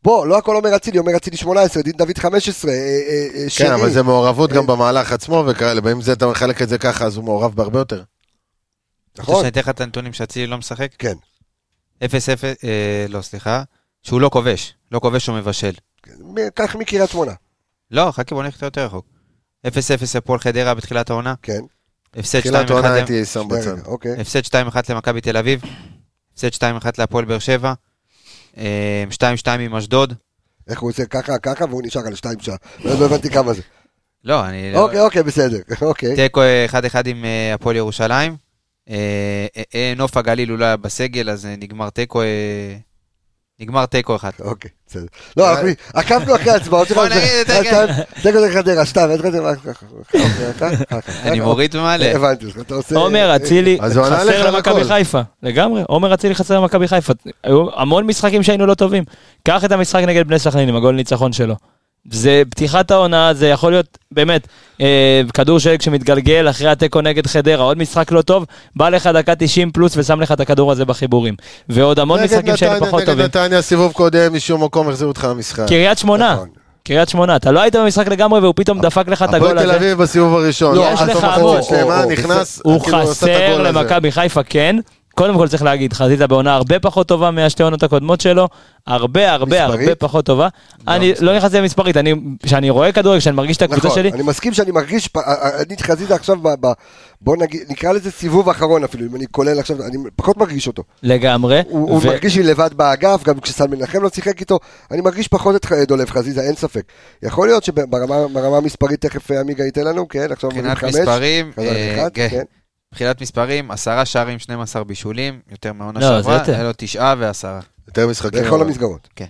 S1: בוא, לא הכל אומר אצילי, אומר אצילי 18, דין דוד 15, אה, אה, אה, שרי.
S4: כן, אבל זה מעורבות
S1: אה,
S4: גם במהלך עצמו וכאלה, ואם זה אתה מחלק את זה ככה, אז הוא מעורב בהרבה יותר.
S5: נכון.
S1: נכון?
S5: רוצה שאני אתן לך את הנתונים שאצילי לא משחק?
S1: כן.
S5: 0-0, אה, לא, סליחה, שהוא לא כובש, לא כובש או מבשל.
S1: מ- קח מקריית שמונה,
S5: לא, חכה, בוא נלך יותר רחוק. 0-0 הפועל חדרה בתחילת העונה,
S1: כן.
S5: הפסד 2-1
S4: תחילת
S6: אה?
S4: העונה
S5: למ-
S4: הייתי שם
S1: שנייה,
S4: בצד.
S1: רגע, אוקיי.
S5: הפסד 2-1 למכבי תל אביב, הפסד 2-1 להפועל באר שבע, אה, 2-2 עם אשדוד.
S1: איך הוא עושה ככה, ככה, והוא נשאר על שתיים שעה. לא הבנתי כמה זה.
S5: לא, אני... לא-
S1: אוקיי, אוקיי, בסדר. אוקיי.
S5: תיקו אה, 1-1 עם אה, הפועל ירושלים. אה, אה, אה, נוף הגליל הוא לא היה בסגל, אז אה, נגמר תיקו... אה, נגמר תיקו אחד.
S1: אוקיי, בסדר. לא, אנחנו עקבנו אחרי ההצבעות שלך.
S5: אה, בוא נגיד את זה, כן.
S1: תיקו זה חדרה, סתם, אין לך את זה, אה, רק ככה. אוקיי, אתה? ככה.
S5: אני מוריד ומעלה.
S1: אה, הבנתי אותך, אתה עושה... אה,
S6: עומר אצילי
S4: אה, אז הוא ענה לך
S6: חסר
S4: על
S6: למכבי
S4: הכל.
S6: חיפה, לגמרי, עומר אצילי חסר למכבי חיפה, היו המון משחקים שהיינו לא טובים, קח את המשחק נגד בני סכנין עם הגול ניצחון שלו. זה פתיחת העונה, זה יכול להיות באמת אה, כדור שלג שמתגלגל אחרי התיקו נגד חדרה, עוד משחק לא טוב, בא לך דקה 90 פלוס ושם לך את הכדור הזה בחיבורים. ועוד המון
S4: נגד
S6: משחקים שהיינו
S4: נתניה-
S6: פחות
S4: נגד
S6: טובים.
S4: נתניה, סיבוב קודם, משום מקום החזירו אותך למשחק.
S6: קריית שמונה,
S1: נכון.
S6: קריית שמונה, אתה לא היית במשחק לגמרי והוא פתאום דפק לך את
S4: הפועל
S6: הגול
S4: תל
S6: הזה.
S4: אביב בסיבוב הראשון.
S6: לא, יש לך
S4: המון.
S6: המון.
S4: שלמה
S1: או, או,
S4: נכנס,
S6: הוא
S4: כאילו, עשה את
S6: חסר
S4: הגול הזה.
S6: למכבי חיפה, כן. קודם כל צריך להגיד, חזיזה בעונה הרבה פחות טובה מהשתי עונות הקודמות שלו, הרבה הרבה
S1: מספרית?
S6: הרבה פחות טובה. אני לא נכנס לזה מספרית, אני, כשאני רואה כדורגל, כשאני מרגיש את הקבוצה
S1: נכון,
S6: שלי,
S1: אני מסכים שאני מרגיש, פ- אה, אני חזיזה עכשיו, ב- ב- בוא נגיד, נקרא לזה סיבוב אחרון אפילו, אם אני כולל עכשיו, אני פחות מרגיש אותו.
S6: לגמרי.
S1: הוא הוא
S6: ו-
S1: מרגיש לי לבד באגף, גם כשסל מנחם לא שיחק איתו, אני מרגיש פחות את ח- דולב חזיזה, אין ספק. יכול להיות שברמה ברמה המספרית תכף עמיגה ייתן לנו, כן, עכשיו הוא
S5: מבחינת
S1: חמש,
S5: מספרים,
S1: חזר
S5: אה,
S1: לאחד,
S5: כן.
S1: כן.
S5: מבחינת מספרים, עשרה שערים, 12 בישולים, יותר מהעונה
S6: לא, זה
S5: שעברה,
S6: יותר.
S5: היה לו תשעה ועשרה.
S4: יותר משחקים.
S1: בכל
S4: אבל.
S1: המסגרות.
S5: כן.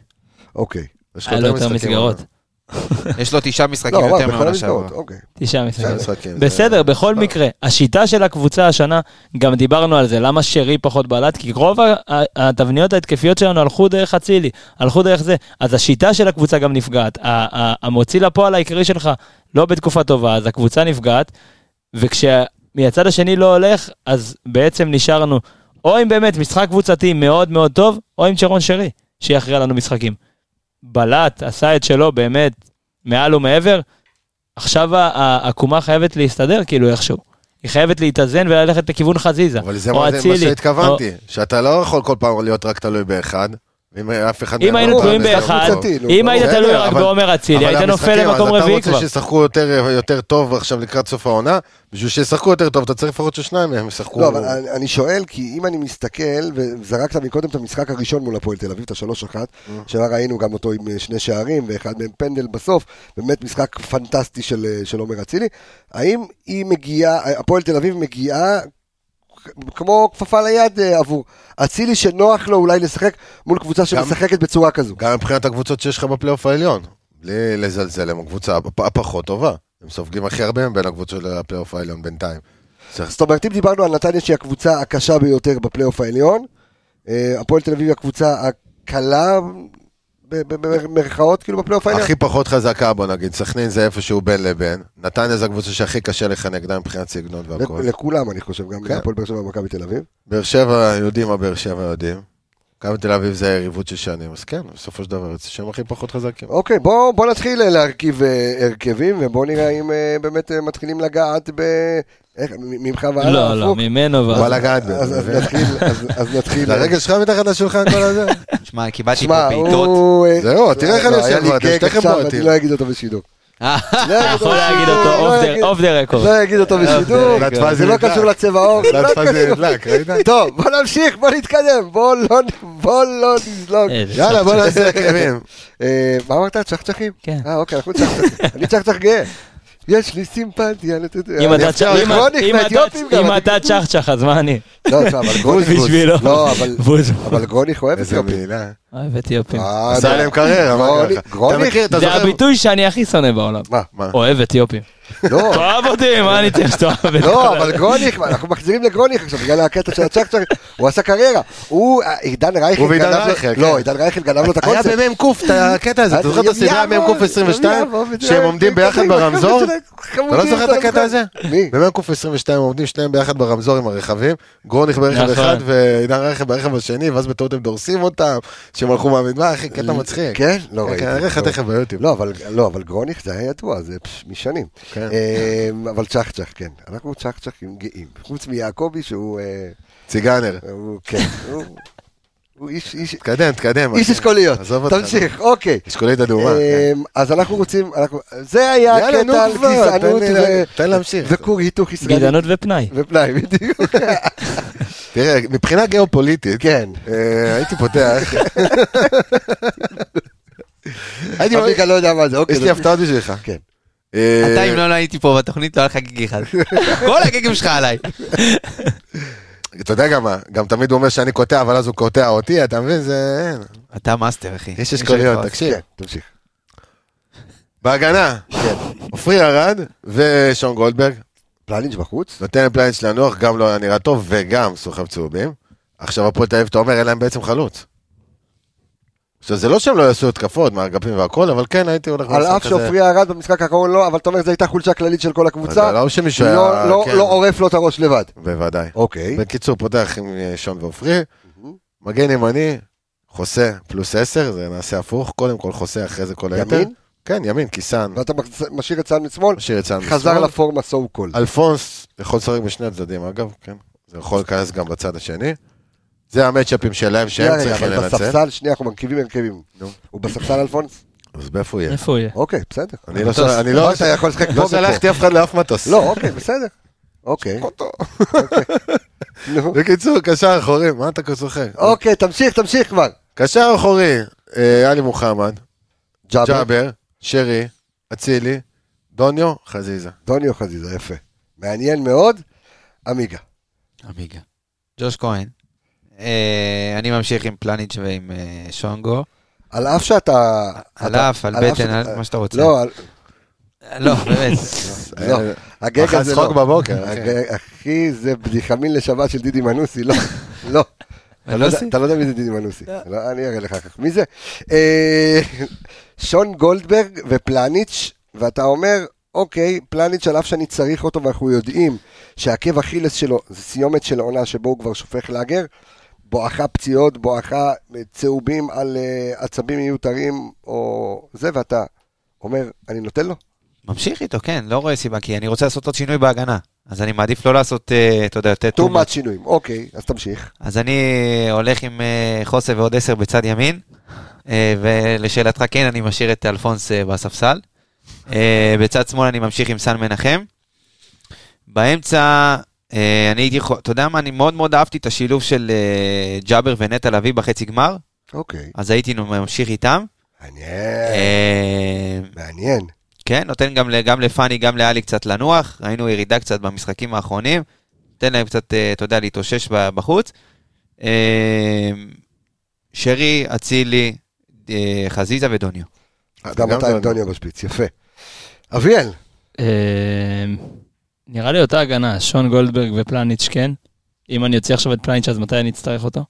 S1: אוקיי.
S4: יש לו
S6: היה לו אה, יותר מסגרות,
S4: אבל.
S5: יש לו תשעה משחקים
S1: לא,
S5: יותר
S1: אבל בכל
S5: מהעונה
S1: המסגרות,
S5: שעברה.
S1: אוקיי.
S6: תשעה
S4: תשעה
S6: משחקים.
S4: משחקים.
S6: בסדר,
S4: כן, זה-
S6: בכל
S4: זה-
S6: מקרה, השיטה של הקבוצה השנה, גם דיברנו על זה, למה שרי פחות בלט? כי רוב ה- ה- התבניות ההתקפיות שלנו הלכו דרך אצילי, הלכו דרך זה. אז השיטה של הקבוצה גם נפגעת. ה- ה- המוציא לפועל העיקרי שלך לא בתקופה טובה, אז הקבוצה נפגעת, וכשמהצד השני לא הולך, אז בעצם נשארנו או עם באמת משחק קבוצתי מאוד מאוד טוב, או עם שרון שרי, שיכריע לנו משחקים. בלט עשה את שלו באמת מעל ומעבר, עכשיו ה- ה- העקומה חייבת להסתדר כאילו איכשהו. היא חייבת להתאזן וללכת לכיוון חזיזה.
S4: אבל זה
S6: או
S4: מה- זה מה
S6: אצילי,
S4: שהתכוונתי, שאתה לא יכול כל פעם להיות רק תלוי באחד. ואם אף אחד
S6: אם
S4: מהם
S6: היינו
S4: לא
S6: תלויים
S4: בא, זה
S6: באחד,
S1: קבוצתי, נו,
S6: אם
S1: ברור.
S6: היית
S4: בסדר,
S6: תלוי רק
S4: אבל-
S6: בעומר אצילי,
S4: אבל
S6: היית נופל
S4: המשחקים,
S6: למקום רביעי
S4: אז אתה
S6: כבר.
S4: רוצה שישחקו יותר- יותר טוב עכשיו לקראת סוף העונה, בשביל שישחקו יותר טוב אתה צריך לפחות ששניים מהם ישחקו.
S1: לא, אבל אני- אני שואל, כי אם אני מסתכל, וזרקת מקודם את המשחק הראשון מול הפועל תל אביב, את השלוש אחת,
S5: אה.
S1: שבה ראינו גם אותו עם אה, שני שערים, ואחד מהם פנדל בסוף, באמת משחק פנטסטי של אה, של עומר אצילי, האם היא מגיעה, הפועל תל אביב מגיעה... כמו כפפה ליד אה, עבור אצילי שנוח לו אולי לשחק מול קבוצה שמשחקת בצורה כזו.
S4: גם מבחינת הקבוצות שיש לך בפלייאוף העליון. בלי לזלזל, הם הקבוצה הפ- הפחות טובה. הם סופגים הכי הרבה מבין הקבוצות לפלייאוף העליון בינתיים. צריך-
S1: זאת אומרת, אם דיברנו על נתניה שהיא הקבוצה הקשה ביותר בפלייאוף העליון, אה, הפועל תל אביב היא הקבוצה הקלה, ב- ב- במרכאות, כאילו בפלייאוף העליון.
S4: הכי פחות חזקה בוא נגיד, סכנין זה איפשהו בין לבין, נתניה זה הקבוצה שהכי קשה לך נגדה מבחינת סגנון והכל.
S1: לכ- לכולם, אני חושב, גם
S4: כן.
S1: להפועל באר שבע ומכבי תל אביב.
S4: באר שבע יודעים מה באר שבע יודעים, מכבי תל אביב זה היריבות של שנים, אז כן, בסופו של דבר יוצא שהם הכי פחות חזקים.
S1: אוקיי, בואו בוא נתחיל אה, להרכיב אה, הרכבים, ובואו נראה אם אה, באמת אה, מתחילים לגעת ב... איך, מ- ממך והלאה?
S6: לא, לא,
S1: הפוך?
S6: ממנו
S4: הוא בא
S6: ועד...
S4: לגעת בי.
S1: אז אז נתחיל, אז- אז נתחיל. אה,
S4: זה הרגל שלך מתחת לשולחן כל הזה?
S5: שמע, קיבלתי פה
S1: שמע,
S5: בעיטות.
S1: הוא... אה,
S4: זהו, תראה איך אני
S1: לא,
S4: יושב
S1: היה לי
S4: כבר, אתם
S1: גג
S4: שתיכם
S1: עכשיו,
S4: בועטים.
S1: אני לא אגיד אותו בשידור.
S4: אה,
S1: לא אגיד
S6: יכול
S1: אותו
S6: להגיד
S1: בשידור,
S6: אותו,
S1: לא
S6: off the-
S1: אגיד-
S6: off the record.
S1: לא אגיד אותו בשידור.
S5: record.
S4: לטפה
S1: זה לא
S4: נדלק.
S1: קשור לצבע העור. זה לא
S4: לטפה זה
S1: קשור.
S4: נדלק, ראית?
S1: טוב, בוא נמשיך, בוא נתקדם, בוא לא בוא לא נזלוג.
S6: איזה
S4: יאללה, בוא נעשה עקבים.
S1: אה, מה אמרת? צ'חצ'חים?
S6: כן.
S1: אה, אוקיי, אנחנו צ'חצ'חים. אני צ'חצ'ח גאה. יש לי סימפתיה. לא יודע.
S6: אם
S1: אני
S6: אתה
S1: אפשר
S6: צ'ח- אם-
S1: לכרוניק
S6: אם אתה-
S1: מהאתיופים גם,
S6: אם
S1: אני- כאילו-
S6: אתה צ'חצ'ח, אז מה אני?
S1: לא, תשמע, אבל גרוניך...
S6: בשבילו.
S1: לא, אבל-
S6: בוז.
S1: אבל גרוניך אוהב
S4: איזה
S1: אתיופים.
S4: מילה.
S6: אוהב אתיופים.
S1: אה,
S4: עשה
S1: נו.
S4: עליהם קריירה, מה קרה
S1: גרוניך-
S4: לך? אתה מכיר, אתה
S6: זה
S4: זוכר?
S6: הביטוי שאני הכי שונא בעולם.
S1: מה?
S4: מה?
S6: אוהב אתיופים.
S1: לא,
S6: תאהב אותי, מה אני צריך שתאהב את
S1: לא, אבל גרוניך, אנחנו מחזירים לגרוניך עכשיו, בגלל הקטע של הצ'קצ'ק, הוא עשה קריירה. הוא, אה, עידן רייכל
S4: הוא ועידן
S1: גנב לו-
S4: רייכל, כן.
S1: לא, עידן רייכל גנב לו את
S4: היה
S1: הקונספט.
S4: במ"ק את הקטע הזה, אתה זוכר את הסדרה
S1: יום יעבור,
S4: מ"ק 22?
S1: יום יעבור, וזה-
S4: שהם עומדים ביחד
S1: כן,
S4: ברמזור?
S1: כן,
S4: אתה לא זוכר את הקטע הזה?
S1: מי?
S4: במ"ק 22 עומדים שניהם ביחד ברמזור עם הרכבים, גרוניך ברכב
S6: נכון.
S4: אחד ועידן רכב ברכב השני, ואז בטעות הם דורסים אותם, שהם הלכו מהמדבר, אחי, קטע מצחיק.
S1: כן? לא
S4: כן,
S1: ראיתי.
S4: אני אראה לך
S1: לא.
S4: תכף ביוטיוב.
S1: לא, אבל- לא, אבל גרוניך זה היה ידוע, זה פש, משנים.
S4: כן.
S1: אה, אבל צ'חצ'ח, כן. אנחנו צ'חצ'חים גאים. חוץ מיעקבי שהוא... אה,
S4: ציגאנר.
S1: הוא- כן. הוא- הוא איש- איש
S4: תקדם, תקדם.
S1: איש
S4: אחי.
S1: אשכוליות.
S4: כן. עזוב אותך.
S1: תמשיך, אוקיי.
S4: אשכולית אדומה. כן.
S1: אמ, אז אנחנו רוצים, אנחנו- זה היה
S4: יאללה, נו
S1: הקטע על
S4: כבר, תן
S1: גזענות
S4: לי
S1: ו-
S4: לה- תן להמשיך.
S1: וכור היתוך ישראלי.
S6: גזענות ופנאי.
S1: ופנאי, בדיוק.
S4: תראה, מבחינה גיאופוליטית,
S1: כן.
S4: אה, הייתי פותח, הייתי
S1: אביגה לא יודע מה זה, אוקיי.
S4: יש לי הפתעות בשבילך.
S1: כן.
S4: אה,
S5: אתה, אם לא הייתי פה בתוכנית, לא היה לך גיג אחד. כל הגיגים שלך עליי.
S4: אתה יודע גם מה, גם תמיד הוא אומר שאני קוטע, אבל אז הוא קוטע אותי, אתה מבין? זה... אין.
S5: אתה מאסטר, אחי.
S4: יש אשכוליות, תקשיב.
S1: כן, תמשיך.
S4: בהגנה,
S1: כן.
S4: עופרי ארד ושון גולדברג,
S1: פלניץ' בחוץ?
S4: נותן לפלייץ' לנוח, גם לא היה נראה טוב, וגם סוחב צהובים. עכשיו הפועל תל אביב, אתה אומר, אין להם בעצם חלוץ. עכשיו, זה לא שהם לא יעשו התקפות מהאגפים והכל, אבל כן, הייתי הולך...
S1: על
S4: במשחק
S1: אף
S4: הזה.
S1: שעופרי ירד במשחק האחרון לא, אבל אתה אומר, זו הייתה חולשה כללית של כל הקבוצה.
S4: אבל לא שמישהו היה...
S1: לא- לא-
S4: כן.
S1: לא עורף לו את הראש לבד.
S4: בוודאי.
S1: אוקיי.
S4: בקיצור, פותח עם אה, שון ועופרי, מגן ימני, חוסה פלוס 10, זה נעשה הפוך, קודם כל חוסה, אחרי זה כל היתר.
S1: ימין?
S4: כן, ימין, כיסן,
S1: ואתה מחז- משאיר את סאן משמאל,
S4: משאיר את סאן
S1: חזר לפורמה סו קול.
S4: אלפונס יכול לשחק בשני הצדדים, אגב, כן. זה יכול להיכנס גם בצד השני. זה המצ'אפים שלהם שהם צריכים
S1: אבל
S4: לנצל.
S1: בספסל, שנייה, אנחנו מרכיבים הרכבים.
S4: נו.
S1: הוא בספסל אלפונס?
S4: אז באיפה הוא יהיה?
S6: איפה הוא יהיה?
S1: אוקיי, בסדר.
S4: אני לא סל- אני לא-
S1: אתה יכול לשחק פה
S4: לא
S1: ופה.
S4: סלחתי אף אחד לאף מטוס.
S1: לא, אוקיי, בסדר. אוקיי. נו.
S4: בקיצור, קשר אחורי, מה אתה צוחק?
S1: אוקיי, תמשיך, תמשיך כבר.
S4: קשר אחורי, אה, עלי מוחמד,
S1: ג'אבר.
S4: ג'אבר, שרי, אצילי, דוניו, חזיזה.
S1: דוניו חזיזה, יפה. מעניין מאוד. עמיגה.
S5: עמיגה. ג'וש כהן. אה, אני ממשיך עם פלניץ' ועם אה, שונגו.
S1: על אף שאתה...
S5: על
S1: אתה-
S5: אף, על בטן,
S1: שאתה-
S5: על מה שאתה רוצה.
S1: לא, על-
S5: לא, באמת.
S1: לא.
S4: אה,
S1: הגג
S4: אכל
S1: הזה
S4: צחוק
S1: לא.
S4: בבוקר, אחי.
S1: הג- אחי, זה בדיחמין לשבת של דידי מנוסי, לא. לא. אתה לא יודע- אתה לא יודע מי זה דידי מנוסי. לא, אני אראה לך אחר כך. מי זה? אה, שון גולדברג ופלניץ', ואתה אומר, אוקיי, פלניץ', על אף שאני צריך אותו, ואנחנו יודעים שהעקב אכילס שלו זה סיומת של העונה שבו הוא כבר שופך לאגר, בואכה פציעות, בואכה אה, צהובים על אה, עצבים מיותרים, או זה, ואתה אומר, אני נותן לו?
S5: ממשיך איתו, כן, לא רואה סיבה, כי אני רוצה לעשות עוד שינוי בהגנה. אז אני מעדיף לא לעשות, אה, אתה יודע, יותר
S1: too
S5: too
S1: much
S5: much.
S1: שינויים. אוקיי, אז תמשיך.
S5: אז אני הולך עם אה, חוסה ועוד עשר בצד ימין, אה, ולשאלתך, כן, אני משאיר את אלפונס אה, בספסל. אה, בצד שמאל אני ממשיך עם סן מנחם. באמצע, אה, אני הייתי, יכול- אתה יודע מה, אני מאוד מאוד אהבתי את השילוב של אה, ג'אבר ונטע לביא בחצי גמר,
S1: אוקיי.
S5: אז הייתי ממשיך איתם.
S1: מעניין.
S5: אה,
S1: מעניין.
S5: כן, נותן גם, ל- גם לפאני, גם לאלי קצת לנוח. ראינו ירידה קצת במשחקים האחרונים. נותן להם קצת, אה, אתה יודע, להתאושש ב- בחוץ. אה, שרי, אצילי, אה, חזיזה ודוניו.
S1: אז גם אתה עם דוניו בשפיץ, יפה. אביאל,
S6: אה, נראה לי אותה הגנה, שון גולדברג ופלניץ' כן. אם אני אוציא עכשיו את פלניץ', אז מתי אני אצטרך אותו?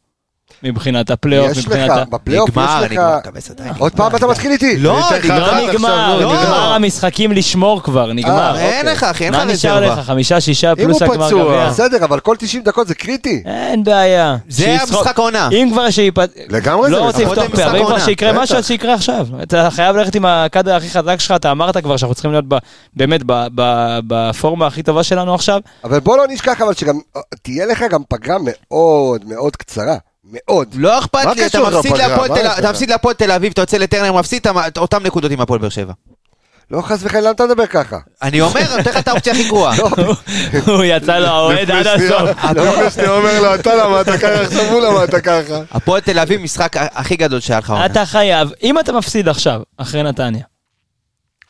S6: מבחינת הפלייאוף,
S1: יש
S6: מבחינת...
S1: לך,
S6: ה-
S1: בפלייאוף
S5: נגמר,
S1: יש לך...
S5: נגמר, כבש עדיין.
S1: עוד פעם אתה מתחיל איתי.
S5: לא,
S4: אני אתן לך
S5: נגמר.
S4: אחת
S6: לא
S4: עכשיו,
S6: נגמר,
S5: לא.
S6: נגמר המשחקים לשמור כבר,
S5: אה,
S6: נגמר.
S5: אין
S6: אוקיי.
S5: לך, אחי, אין
S6: מה
S5: לך
S6: נשאר
S5: רזרבה.
S6: לך? חמישה, שישה,
S4: אם
S6: פלוס
S4: הוא
S6: הגמר
S4: פצוע,
S6: גביע.
S1: בסדר, אבל כל 90 דקות זה קריטי.
S6: אין בעיה.
S5: זה
S6: שישחק.
S5: המשחק העונה.
S6: אם כבר שיפת...
S4: לגמרי זה
S6: לא רוצה
S4: משחק.
S5: לפתוח
S6: לפתוח
S5: משחק
S6: פה, אבל אם כבר
S5: עונה.
S6: שיקרה
S4: בטח.
S6: משהו, אז שיקרה עכשיו. אתה חייב ללכת עם הקאדר הכי חזק שלך, אתה אמרת כבר שאנחנו צריכים להיות ב- באמת ב- ב- בפורמה הכי טובה שלנו עכשיו.
S1: אבל בוא לא נשכח אבל שגם תהיה לך גם פגרה מאוד מאוד קצרה. מאוד.
S5: לא אכפת
S4: מה
S5: לי, אתה
S4: קשור
S5: מפסיד
S4: לפגרה?
S5: להפועל
S4: מה
S5: תל-
S4: יש לך?
S5: אתה מפסיד להפועל תל אביב, אתה יוצא לטרנר, מפסיד את המ- את אותם נקודות עם הפועל באר שבע.
S1: לא חס וחלילה, למה אתה מדבר ככה?
S5: אני אומר, אני נותן לך את האופציה הכי גרועה.
S6: הוא יצא לו האוהד עד הסוף.
S4: אני לא אומר לו, אתה למה אתה ככה, עכשיו הוא למה אתה ככה.
S5: הפועל תל אביב, משחק ה- הכי גדול שהיה לך עונה.
S6: אתה חייב, אם אתה מפסיד עכשיו, אחרי נתניה,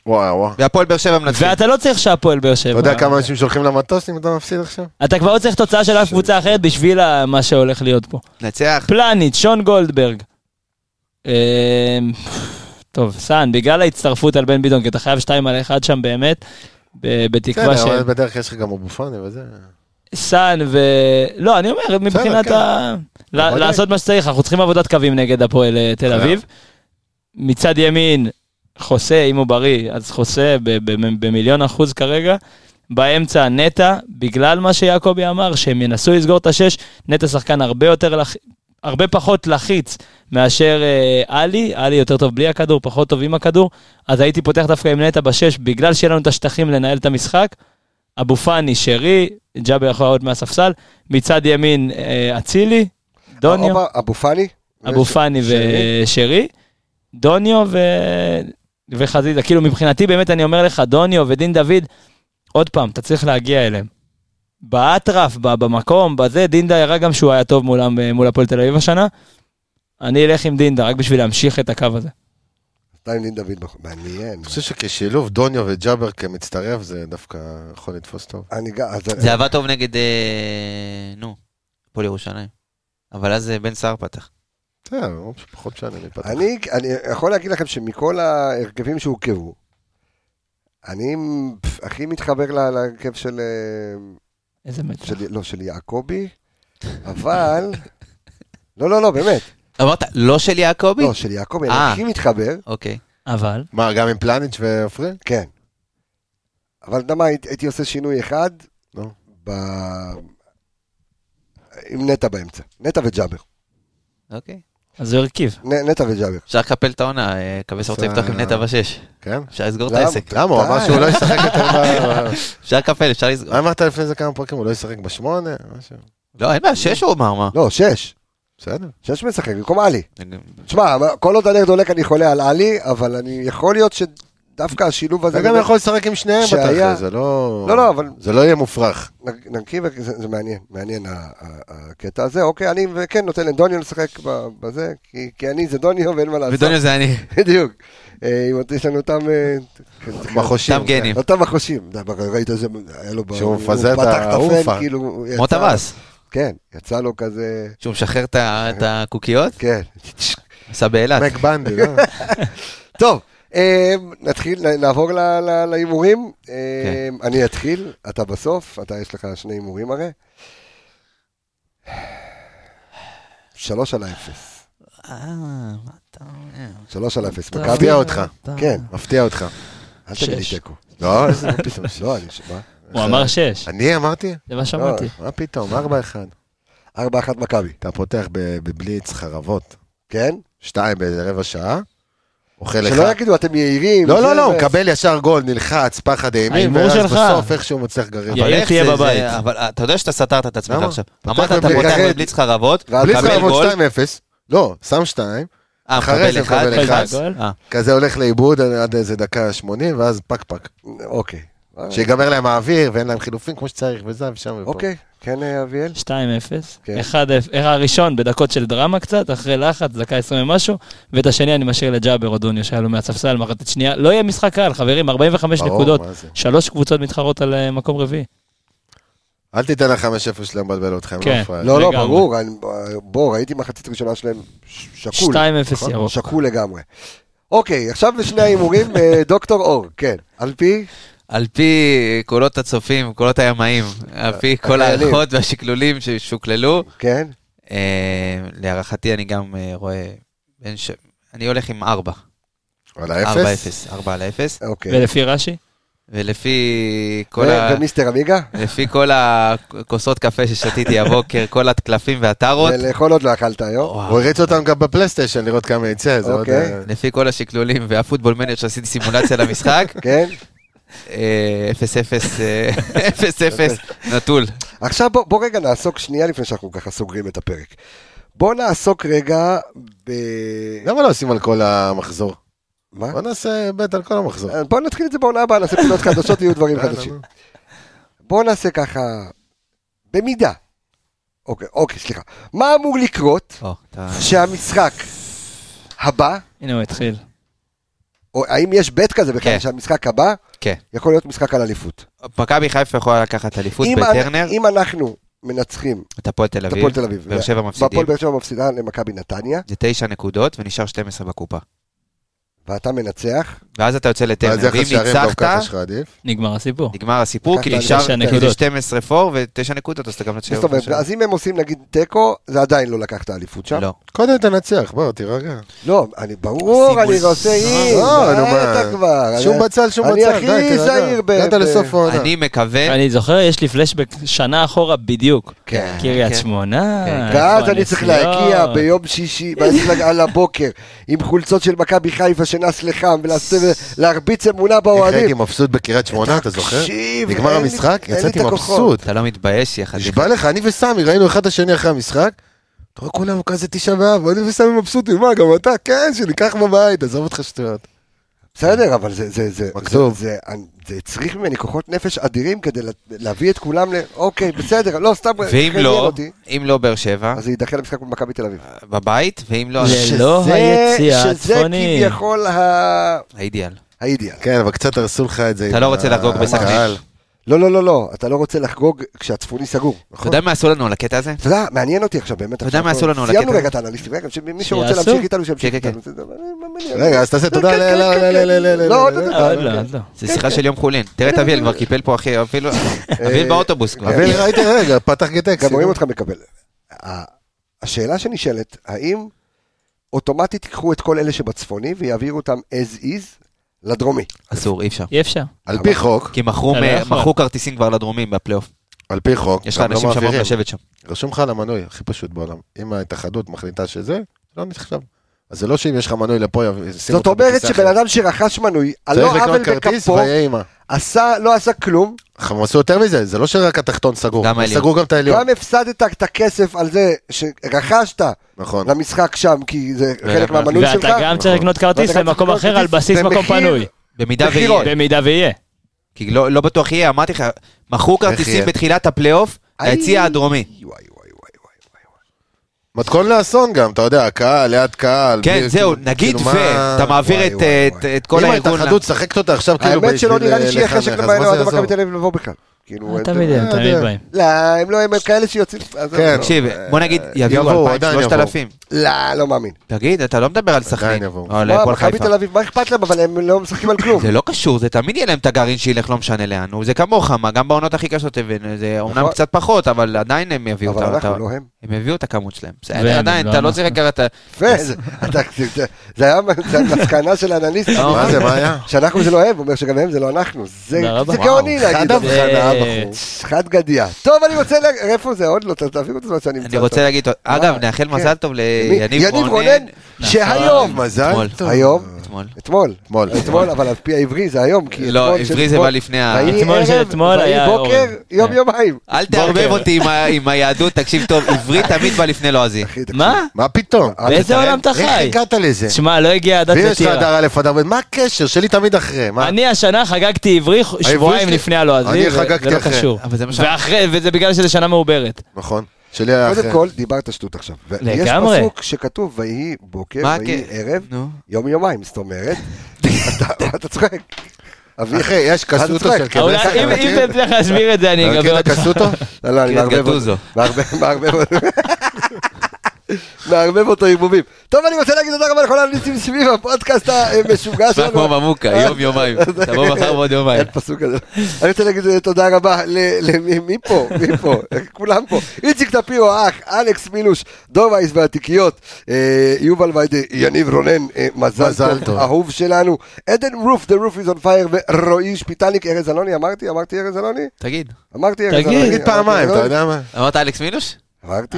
S4: וואי וואי.
S5: והפועל באר שבע מנצחים.
S6: ואתה לא צריך שהפועל באר
S4: אתה
S6: שבע.
S4: יודע כמה אנשים שולחים למטוס אם אתה מפסיד עכשיו?
S6: אתה כבר לא צריך תוצאה של אף קבוצה אחרת בשביל ה- מה שהולך להיות פה.
S5: נצח.
S6: פלניץ', שון גולדברג. אה, טוב, סאן, בגלל ההצטרפות על בן ביטון, כי אתה חייב שתיים על אחד שם באמת, ב-
S4: כן,
S6: בתקווה ש...
S4: אבל בדרך יש לך גם אבו פאני וזה.
S6: סאן ו... לא, אני אומר, מבחינת
S4: כן.
S6: ה... ל-
S4: בוודאי.
S6: לעשות מה שצריך, אנחנו צריכים עבודת קווים נגד הפועל אה, תל
S4: חייב.
S6: אביב. מצד ימין, חוסה, אם הוא בריא, אז חוסה ב- ב- במיליון אחוז כרגע. באמצע נטע, בגלל מה שיעקבי אמר, שהם ינסו לסגור את השש, נטע שחקן הרבה יותר, לח... הרבה פחות לחיץ מאשר אה, עלי, עלי יותר טוב בלי הכדור, פחות טוב עם הכדור, אז הייתי פותח דווקא עם נטע בשש, בגלל שיהיה לנו את השטחים לנהל את המשחק. אבו פאני, שרי, ג'אבר יכול לעלות מהספסל, מצד ימין אה, אצילי, דוניו,
S1: אופה, אבו פאני?
S6: אבו
S1: ש-
S6: פאני
S1: שני.
S6: ושרי, דוניו ו... וחזיזה. כאילו מבחינתי באמת אני אומר לך, דוניו ודין דוד, עוד פעם, אתה צריך להגיע אליהם. באטרף, ב- במקום, בזה, דינדה הראה גם שהוא היה טוב מולם, אה, מול הפועל תל אביב השנה. אני אלך עם דינדה, רק בשביל להמשיך את הקו הזה.
S1: שתיים דין דוד, בחור. מעניין.
S4: אני חושב שכשילוב דוניו וג'אבר כמצטרף זה דווקא יכול לתפוס טוב.
S1: אני גם... אז-
S5: זה עבד טוב נגד, אה, נו, הפועל ירושלים. אבל אז אה, בן סער פתח.
S4: בסדר, הוא פחות משנה מי פתח.
S1: אני, אני יכול להגיד לכם שמכל ההרכבים שהורכבו, אני פף, הכי מתחבר לה- להרכב של, אה,
S6: איזה מצב.
S1: של, לא, של יעקבי, אבל... לא, לא, לא, באמת.
S5: אמרת, לא של יעקבי?
S1: לא, של יעקבי, אני
S5: אה.
S1: הכי מתחבר,
S5: אוקיי.
S6: אבל,
S4: מה, גם עם פלניץ' ועפרי?
S1: כן. אבל אתה יודע מה, הייתי הייתי עושה שינוי אחד,
S4: נו.
S1: ב... עם נטע באמצע. נטע וג'אבר.
S5: אוקיי.
S6: אז הוא הרכיב.
S1: נ- נטע וג'אבר.
S5: אפשר לקפל את העונה, אה, קווס רוצה לפתוח עם נטע בשש.
S4: כן?
S5: אפשר לסגור את
S1: למה?
S5: העסק.
S4: למה? הוא אמר
S1: די.
S4: שהוא לא ישחק יותר ב...
S5: אפשר לקפל, אפשר לסגור.
S4: מה אמרת לפני זה כמה פרקים? הוא לא ישחק בשמונה? משהו.
S5: לא, אין בעיה, שש הוא אמר, מה?
S1: לא, שש.
S4: בסדר.
S1: שש משחק, במקום עלי. תשמע, כל עוד הנגד הולך אני חולה על עלי, אבל אני יכול להיות שדווקא השילוב הזה...
S4: אתה גם יכול לשחק עם שניהם
S1: שהיה-
S4: בתכל'ס, זה לא...
S1: לא, לא, אבל-
S4: זה לא יהיה מופרך.
S1: נ- נרכיב, זה, זה מעניין, מעניין ה- ה- הקטע הזה. אוקיי, אני כן נותן לדוניו לשחק ב- בזה, כי, כי אני זה דוניו ואין מה לעשות.
S5: ודוניו זה אני.
S4: כן,
S1: בדיוק. אה, אם יש לנו אותם... אה,
S4: מחושים.
S5: תם גנים.
S1: אותם מחושים. די, ראית איזה... היה לו... ב-
S4: שהוא
S1: הוא
S4: מפזר את
S1: פתח הפרן,
S4: האופה.
S1: כאילו... הוא יצא-
S5: מוטה בס.
S1: כן, יצא לו כזה...
S5: שהוא משחרר את ה- את הקוקיות,
S1: כן.
S5: עשה באילת.
S4: מק בנדי, לא?
S1: טוב. אה, נתחיל, נעבור ל- ל- להימורים. אה,
S5: כן.
S1: אני אתחיל, אתה בסוף, אתה יש לך שני הימורים הרי. שלוש על האפס.
S5: אה, מה אתה אומר?
S1: שלוש על אפס.
S6: טוב.
S1: מכבי,
S4: מפתיע אותך.
S1: כן,
S4: מפתיע אותך.
S1: אל תגיד לי
S6: שש.
S1: תיקו.
S4: לא, איזה מה פתאום.
S1: לא, אני שמע.
S6: הוא אמר שש,
S4: אני אמרתי?
S6: זה מה שאמרתי.
S4: מה פתאום? ארבע אחד.
S1: ארבע אחת מכבי,
S4: אתה פותח ב- בבליץ חרבות.
S1: כן?
S4: שתיים באיזה רבע שעה. אוכל לך.
S1: שלא יגידו, אתם יעילים.
S4: לא,
S1: זה
S4: לא, לא, הוא
S1: ו-
S4: מקבל ישר גול, נלחץ, פחד אימים,
S6: ההימור
S4: ואז
S6: שלך.
S4: בסוף איכשהו מצליח לגרר.
S6: יאיר
S5: אבל איך
S6: תהיה
S5: זה-
S6: בבית.
S5: זה- אבל אה, אתה יודע שאתה סתרת את עצמך
S4: למה?
S5: עכשיו.
S4: פותח
S5: אמרת, אתה
S4: בבליץ.
S5: פותח
S1: ירד.
S5: בבליץ חרבות,
S1: ואז
S4: בליץ
S5: מקבל
S4: חרבות
S5: גול.
S4: 2-0. לא, שם שתיים.
S5: אה,
S4: אחרי
S5: מקבל
S4: זה
S5: אחד,
S4: מקבל
S5: אחד.
S6: אחד. גול.
S5: אה,
S4: כזה הולך לאיבוד עד- עד איזה דקה 80, ואז פק פק.
S1: אוקיי.
S4: שיגמר להם האוויר, ואין להם חילופים כמו שצריך, וזה ושם ופה.
S1: אוקיי, כן, אה, אביאל?
S6: 2-0,
S1: כן.
S6: 1-0, אה, הראשון בדקות של דרמה קצת, אחרי לחץ, דקה 20 ומשהו, ואת השני אני משאיר לג'אבר או דוניו שהיה לו מהספסל, מחצית שנייה, לא יהיה משחק קל, חברים, 45
S4: ברור,
S6: נקודות,
S4: מה זה?
S6: שלוש קבוצות מתחרות על אה, מקום רביעי.
S4: אל תיתן לחמש איפה שלהם לבלבל אותך, הם
S6: כן.
S4: לא פראיירים.
S1: לא, לא,
S6: לגמרי.
S1: ברור. אני- בוא, ראיתי מחצית ראשונה שלהם ש- שקול. נכון?
S6: 2-0 ירוק.
S1: שקול לגמרי. אוקיי, עכשיו בשני ההימורים, אה, דוקטור אור, כן. על פי?
S5: על פי
S1: אה,
S5: קולות הצופים, קולות הימאים, על פי כל
S1: החיילים.
S5: ההערכות והשקלולים ששוקללו,
S1: כן.
S5: אה, להערכתי אני גם אה, רואה, בין ש... אני הולך עם 4. 4-0,
S4: על האפס?
S5: 4 על 0.
S1: אוקיי.
S6: ולפי רש"י?
S5: ולפי כל, ה...
S1: ו- ומיסטר עמיגה?
S5: לפי כל הכוסות קפה ששתיתי הבוקר, כל הקלפים והטרות,
S1: ולאכול עוד לא אכלת היום.
S5: וואו.
S4: הוא הריץ אותם גם בפלייסטיישן לראות כמה יצא, זה עוד...
S1: אוקיי.
S4: אה,
S5: לפי כל השקלולים והפוטבול מנג'ר שעשיתי סימולציה למשחק,
S1: כן?
S5: אה, 0-0, אה, 0-0, נטול.
S1: עכשיו בוא, בוא רגע נעסוק שנייה לפני שאנחנו ככה סוגרים את הפרק. בוא נעסוק רגע ב...
S4: למה לא עושים על כל המחזור?
S1: מה? אה,
S4: בוא נעשה בית על כל המחזור. אה,
S1: בוא נתחיל את זה בעונה הבאה, נעשה פינות חדשות, יהיו
S5: לא,
S1: דברים
S4: יאללה,
S1: חדשים.
S4: נו.
S1: בוא נעשה ככה, במידה. אוקיי, אוקיי, סליחה. מה אמור לקרות
S5: או, אתה-
S1: שהמשחק הבא,
S6: הנה הוא התחיל.
S1: או האם יש בית כזה בכלל,
S5: כן.
S1: שהמשחק הבא
S5: כן.
S1: יכול להיות משחק על אליפות?
S5: מכבי חיפה יכולה לקחת אליפות
S1: אם אנ-
S5: בטרנר,
S1: אם אנחנו מנצחים
S5: את הפועל תל
S1: את הפועל
S5: אביב,
S1: תל אביב,
S5: באר שבע מפסידים,
S1: והפועל באר שבע מפסידה למכבי נתניה,
S5: זה 9 נקודות ונשאר 12 בקופה.
S1: ואתה מנצח,
S5: ואז אתה יוצא
S4: אז
S5: לטרנר,
S4: יחס
S5: ואם
S4: שערים גם
S1: לא
S4: ככה
S5: ניצחת,
S4: שלך עדיף.
S6: נגמר הסיפור.
S5: נגמר הסיפור, כי
S1: לקחת
S5: נשאר
S6: תשע
S5: כי זה
S6: נקודות.
S5: 12 פור ו-9 נקודות, אז אתה גם לא
S1: זאת
S5: תשאר
S1: אומרת, אז אם הם עושים נגיד תיקו, זה עדיין לא לקח את האליפות שם.
S5: לא.
S4: קודם תנצח, בוא, תירגע.
S1: לא, אני ברור, אני
S5: עושים
S1: עושה אי,
S4: לא, נו, מה.
S1: אתה כבר.
S4: שום
S1: אני-
S4: בצל, שום בצל,
S1: אני הכי
S4: די, תירגע.
S1: זהיר ב-
S4: הגעת
S1: ב-
S4: לסוף
S1: לא.
S4: העונה.
S5: אני מקווה,
S6: אני זוכר, יש לי פלשבק שנה אחורה בדיוק.
S1: כן.
S6: קריית
S5: כן.
S6: שמונה.
S5: כן.
S1: ואז
S6: איפה
S1: אני צריך
S6: הנסיעות?
S1: להגיע ביום שישי, ואז צריך להגיע על הבוקר, עם חולצות של מכבי חיפה שנס לחם, ולהרביץ אמונה
S4: איך הייתי
S1: באוהדים.
S4: מבסוט בקריית שמונה, אה, אתה זוכר?
S1: תקשיב,
S4: נגמר
S1: אין לי-
S4: המשחק,
S1: אין לי
S4: יצאתי
S1: את הכוחות.
S4: מבסוט.
S5: אתה לא מתבייש, יא חזיק.
S4: נשבע לך, אני וסמי ראינו אחד את השני אחרי המשחק. אתה רואה כולם כזה תשעה באב, אני וסמי מבסוטים, מה, גם אתה? כן, שניקח בבית, עזוב אותך שטויות.
S1: בסדר, אבל זה- זה- זה-
S4: מכתוב.
S1: זה- זה- אני- זה הצריך ממני כוחות נפש אדירים כדי לה- להביא את כולם ל... אוקיי, בסדר, לא, סתם...
S5: ואם
S1: חייב
S5: לא,
S1: אותי,
S5: אם לא באר שבע,
S1: אז זה יידחה למשחק במכבי תל אביב.
S5: בבית, ואם לא,
S6: זה
S5: אז
S6: לא
S1: שזה-
S6: היציאה
S1: שזה
S6: הצפונית.
S1: כביכול ה-
S5: האידיאל.
S1: האידיאל.
S4: כן, אבל קצת הרסו לך את זה.
S5: אתה
S4: עם
S5: לא רוצה
S4: ה-
S5: לחגוג בסכנין.
S4: הקהל.
S1: לא, לא, לא, לא, אתה לא רוצה לחגוג כשהצפוני סגור.
S5: אתה יודע מה עשו לנו על הקטע הזה?
S1: אתה יודע, מעניין אותי עכשיו, באמת.
S5: יודע
S1: עכשיו
S5: מה
S1: אנחנו-
S5: עשו לנו על
S1: סיימנו
S5: הקטע?
S1: רגע את האנליסטים, רגע, שמי שרוצה
S6: שיעשו.
S1: להמשיך איתנו, שימשיך
S5: כן, כן,
S1: איתנו. זה- אני- אני-
S4: רגע, אז תעשה תודה ל... ל- ל- ל- ל- ל- ל-
S1: לא,
S4: ל-
S1: לא,
S4: ל-
S1: לא.
S6: עוד לא, עוד לא.
S5: זה שיחה של יום חולין. תראה את אביאל, כבר קיפל פה אחי, אפילו...
S1: אה,
S5: אביאל באוטובוס כבר.
S4: אבל ראיתי, רגע, פתח גטקסי.
S1: גם רואים אותך מקבל. ה- השאלה שנשאלת, האם אוטומטית ייקחו את כל אלה שבצפוני ויעבירו אותם as is לדרומי?
S5: אסור, אי אפשר.
S6: אי אפשר.
S4: על פי חוק,
S5: כי מכרו
S6: אתה לא
S5: מ-
S6: יכול.
S5: מכרו כרטיסים כבר לדרומים בפלייאוף.
S4: על פי חוק,
S5: יש לך
S4: גם לא
S5: אנשים שאמורים
S4: מעבירים.
S5: לשבת שם.
S4: רשום לך על המנוי, הכי פשוט בעולם. אם ההתאחדות מחליטה שזה, לא נחשב. אז זה לא שאם יש לך מנוי לפה, ישימו
S1: זאת
S4: אותך
S1: אומרת
S4: בכיסא
S1: שבן
S4: אחר.
S1: אדם שרכש מנוי, על
S4: צריך
S1: לא עוול
S4: לקנות כרטיס
S1: בכפו,
S4: ויהיה אימא.
S1: עשה, לא עשה כלום,
S4: הם עשו יותר מזה, זה לא שרק התחתון סגור,
S5: גם העליון.
S4: סגרו גם את
S6: לא.
S4: העליון.
S1: גם הפסדת את הכסף על זה שרכשת
S4: נכון.
S1: למשחק שם, כי זה חלק
S5: ואתה
S1: מהמנוי שלך.
S6: ואתה גם צריך לקנות כרטיס
S1: ואתה גם
S6: למקום
S1: צריך לקנות
S6: אחר על
S1: כרטיס
S6: בסיס מקום
S1: במחיר-
S6: פנוי.
S5: במידה
S1: בחירות.
S5: ויהיה.
S6: במידה ויהיה.
S5: כי לא לא בטוח יהיה, אמרתי לך, מכרו כרטיסים
S4: יהיה?
S5: בתחילת הפלייאוף,
S1: איי.
S5: ליציע הדרומי.
S1: וואי, וואי, וואי, וואי, וואי.
S4: מתכון לאסון גם, אתה יודע, קהל, ליד קהל.
S5: כן,
S4: בלי-
S5: זהו,
S4: כאילו,
S5: נגיד
S4: כאילו,
S5: ו...
S4: מה-
S5: אתה מעביר
S1: וואי,
S5: את-
S1: וואי,
S5: את-
S1: וואי.
S5: את כל
S4: אם
S5: הארגון.
S4: ההתאחדות שחקת אותה עכשיו, כאילו,
S1: האמת שלא
S4: בשביל
S1: נראה לי שיהיה
S4: לחנך,
S1: חשק
S4: אז מה זה
S1: לבעלי
S4: יעזור?
S1: מכבי תל אביב לבוא בכלל. כאילו, אתה
S6: אה, תמיד הם,
S1: יודע.
S6: תמיד באים.
S1: לא, הם לא, הם כאלה שיוצאים. אז
S4: כן.
S1: לא.
S5: תקשיב, בוא נגיד, יביאו
S4: יבואו,
S5: 2,000,
S4: עדיין
S5: 3,000.
S1: לא, לא מאמין.
S5: תגיד, אתה לא מדבר על סכנין.
S4: יבואו.
S5: או על
S1: מה,
S5: הפועל
S1: לא, מכבי
S5: חיפה.
S1: תל אביב, מה אכפת להם? אבל הם לא משחקים על כלום.
S5: זה לא קשור, זה תמיד יהיה להם את הגרעין שילך, לא משנה לאן. נו, זה כמוך, מה, גם בעונות הכי קשות הבאנו, זה
S1: נכון.
S5: אומנם קצת פחות, אבל עדיין הם יביאו
S1: אבל
S5: את ה- את ה...
S1: אנחנו לא הם.
S5: הם יביאו את הכמות שלהם.
S6: והם,
S5: בסדר, עדיין,
S6: לא
S5: אתה לא
S6: אנחנו.
S5: צריך לקראת... את ה-
S1: יפה, זה- אתה- זה- זה- זה היה זה המסקנה של האנליסט.
S5: לא.
S4: מה זה, מה היה?
S1: שאנחנו זה לא הם, הוא אומר שגם הם זה לא אנחנו. זה
S6: תודה רבה.
S1: זה גאוני
S4: וואו,
S1: להגיד.
S4: חד
S1: אבל-
S4: הבחנה,
S6: זה-
S4: בחור.
S1: חד גדיה. טוב, אני רוצה, לה- איפה זה? עוד לא, ת- תעבירו את הזמן שאני אמצא.
S5: אני רוצה להגיד, אגב, נאחל מזל טוב
S1: אה, כן. מי?
S5: ליניב
S1: יניב
S5: רונן.
S1: רונן, שהיום,
S6: נכון.
S4: מזל
S5: אתמול.
S4: טוב.
S1: היום,
S5: אתמול.
S1: אתמול,
S4: אתמול.
S1: אתמול, אבל על פי העברי זה היום, כי
S5: לא,
S1: אתמול של
S5: עברי זה
S1: אתמול.
S5: בא לפני ה...
S1: ויהי
S6: אתמול של
S1: ערב,
S6: אתמול
S1: ויהי
S6: היה
S1: בוקר,
S6: אורן.
S1: יום
S6: כן.
S1: יומיים.
S5: אל תערבב
S6: בוקר.
S5: אותי עם ה- עם היהדות, תקשיב טוב, עברי תמיד בא לפני לועזי.
S1: אחי, תקשיב.
S6: מה?
S4: מה פתאום?
S6: באיזה
S5: תתערב?
S6: עולם אתה
S4: אה, איך
S6: חי?
S4: הגעת לזה?
S6: תשמע, לא הגיעה עדת
S4: ואם יש לך
S6: לטירה.
S4: אדר א' אדר ב', מה הקשר? שלי תמיד אחרי, מה?
S6: אני השנה חגגתי עברי ח- שבועיים
S4: שלי-
S6: לפני הלועזי,
S4: אני
S6: ו-
S4: חגגתי
S6: זה לא
S4: אחרי.
S6: קשור.
S5: אבל זה מה ש...
S6: ואחרי, וזה בגלל שזו שנה מעוברת.
S4: נכון. שלי היה אחרי.
S1: קודם כל, דיברת שטות עכשיו. ויש
S6: לגמרי.
S1: פסוק שכתוב, ויהי בוקר,
S5: מה
S1: ויהי
S5: הקטע?
S1: ערב,
S5: נו.
S1: יום יומיים, זאת אומרת. אתה- אתה צוחק. אבי,
S4: אחי, יש קסוטו
S1: צוחק.
S4: של
S1: אבל
S6: אולי-
S4: כבש.
S6: אם אוקיי, אם תצליח להסביר את זה, אני
S4: כן, אתה מכיר
S6: אגבה
S4: את
S6: אותך.
S4: הקסוטו?
S1: לא, לא, אני
S5: קריאת
S1: מערבב
S5: גטוזו.
S1: אותו. מערבב- מערבב אותו. נערבב אותו עם בובים. טוב, אני רוצה להגיד תודה רבה לכל הניסים סביב הפודקאסט המשוגע
S5: נשמע כמו
S1: שלנו. אה,
S5: ממוקה, יום יומיים. תבוא מחר ועוד יומיים.
S1: אין פסוק כזה. אני רוצה להגיד אה, תודה רבה ל- למי מי פה, מי פה, אה, כולם פה. איציק טפירו, אח, אלכס מילוש, דוב וייס והתיקיות, אה, יובל ויידה, יניב רונן, אה, מזל
S4: מזל
S1: טוב,
S4: טוב.
S1: אהוב שלנו, עדן רוף, The Roof is on fire, ורועי שפיטניק, ארז אלוני, אמרתי, אמרתי ארז אלוני?
S5: תגיד,
S1: אמרתי ארז אלוני.
S6: תגיד.
S1: אמרתי,
S4: תגיד פעמיים,
S1: ארז
S4: אתה
S1: אלוני?
S4: יודע מה?
S5: אמרת אלכס מילוש?
S1: אמרתי.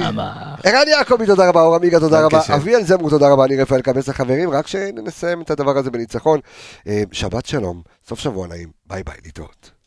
S1: ערן יעקבי, תודה רבה, אור עמיגה, תודה רבה,
S4: בבקשה.
S1: אביאל זמרו, תודה רבה, אני רפאל קבס החברים, רק שנסיים את הדבר הזה בניצחון. אה, שבת שלום, סוף שבוע נעים, ביי ביי, להתראות.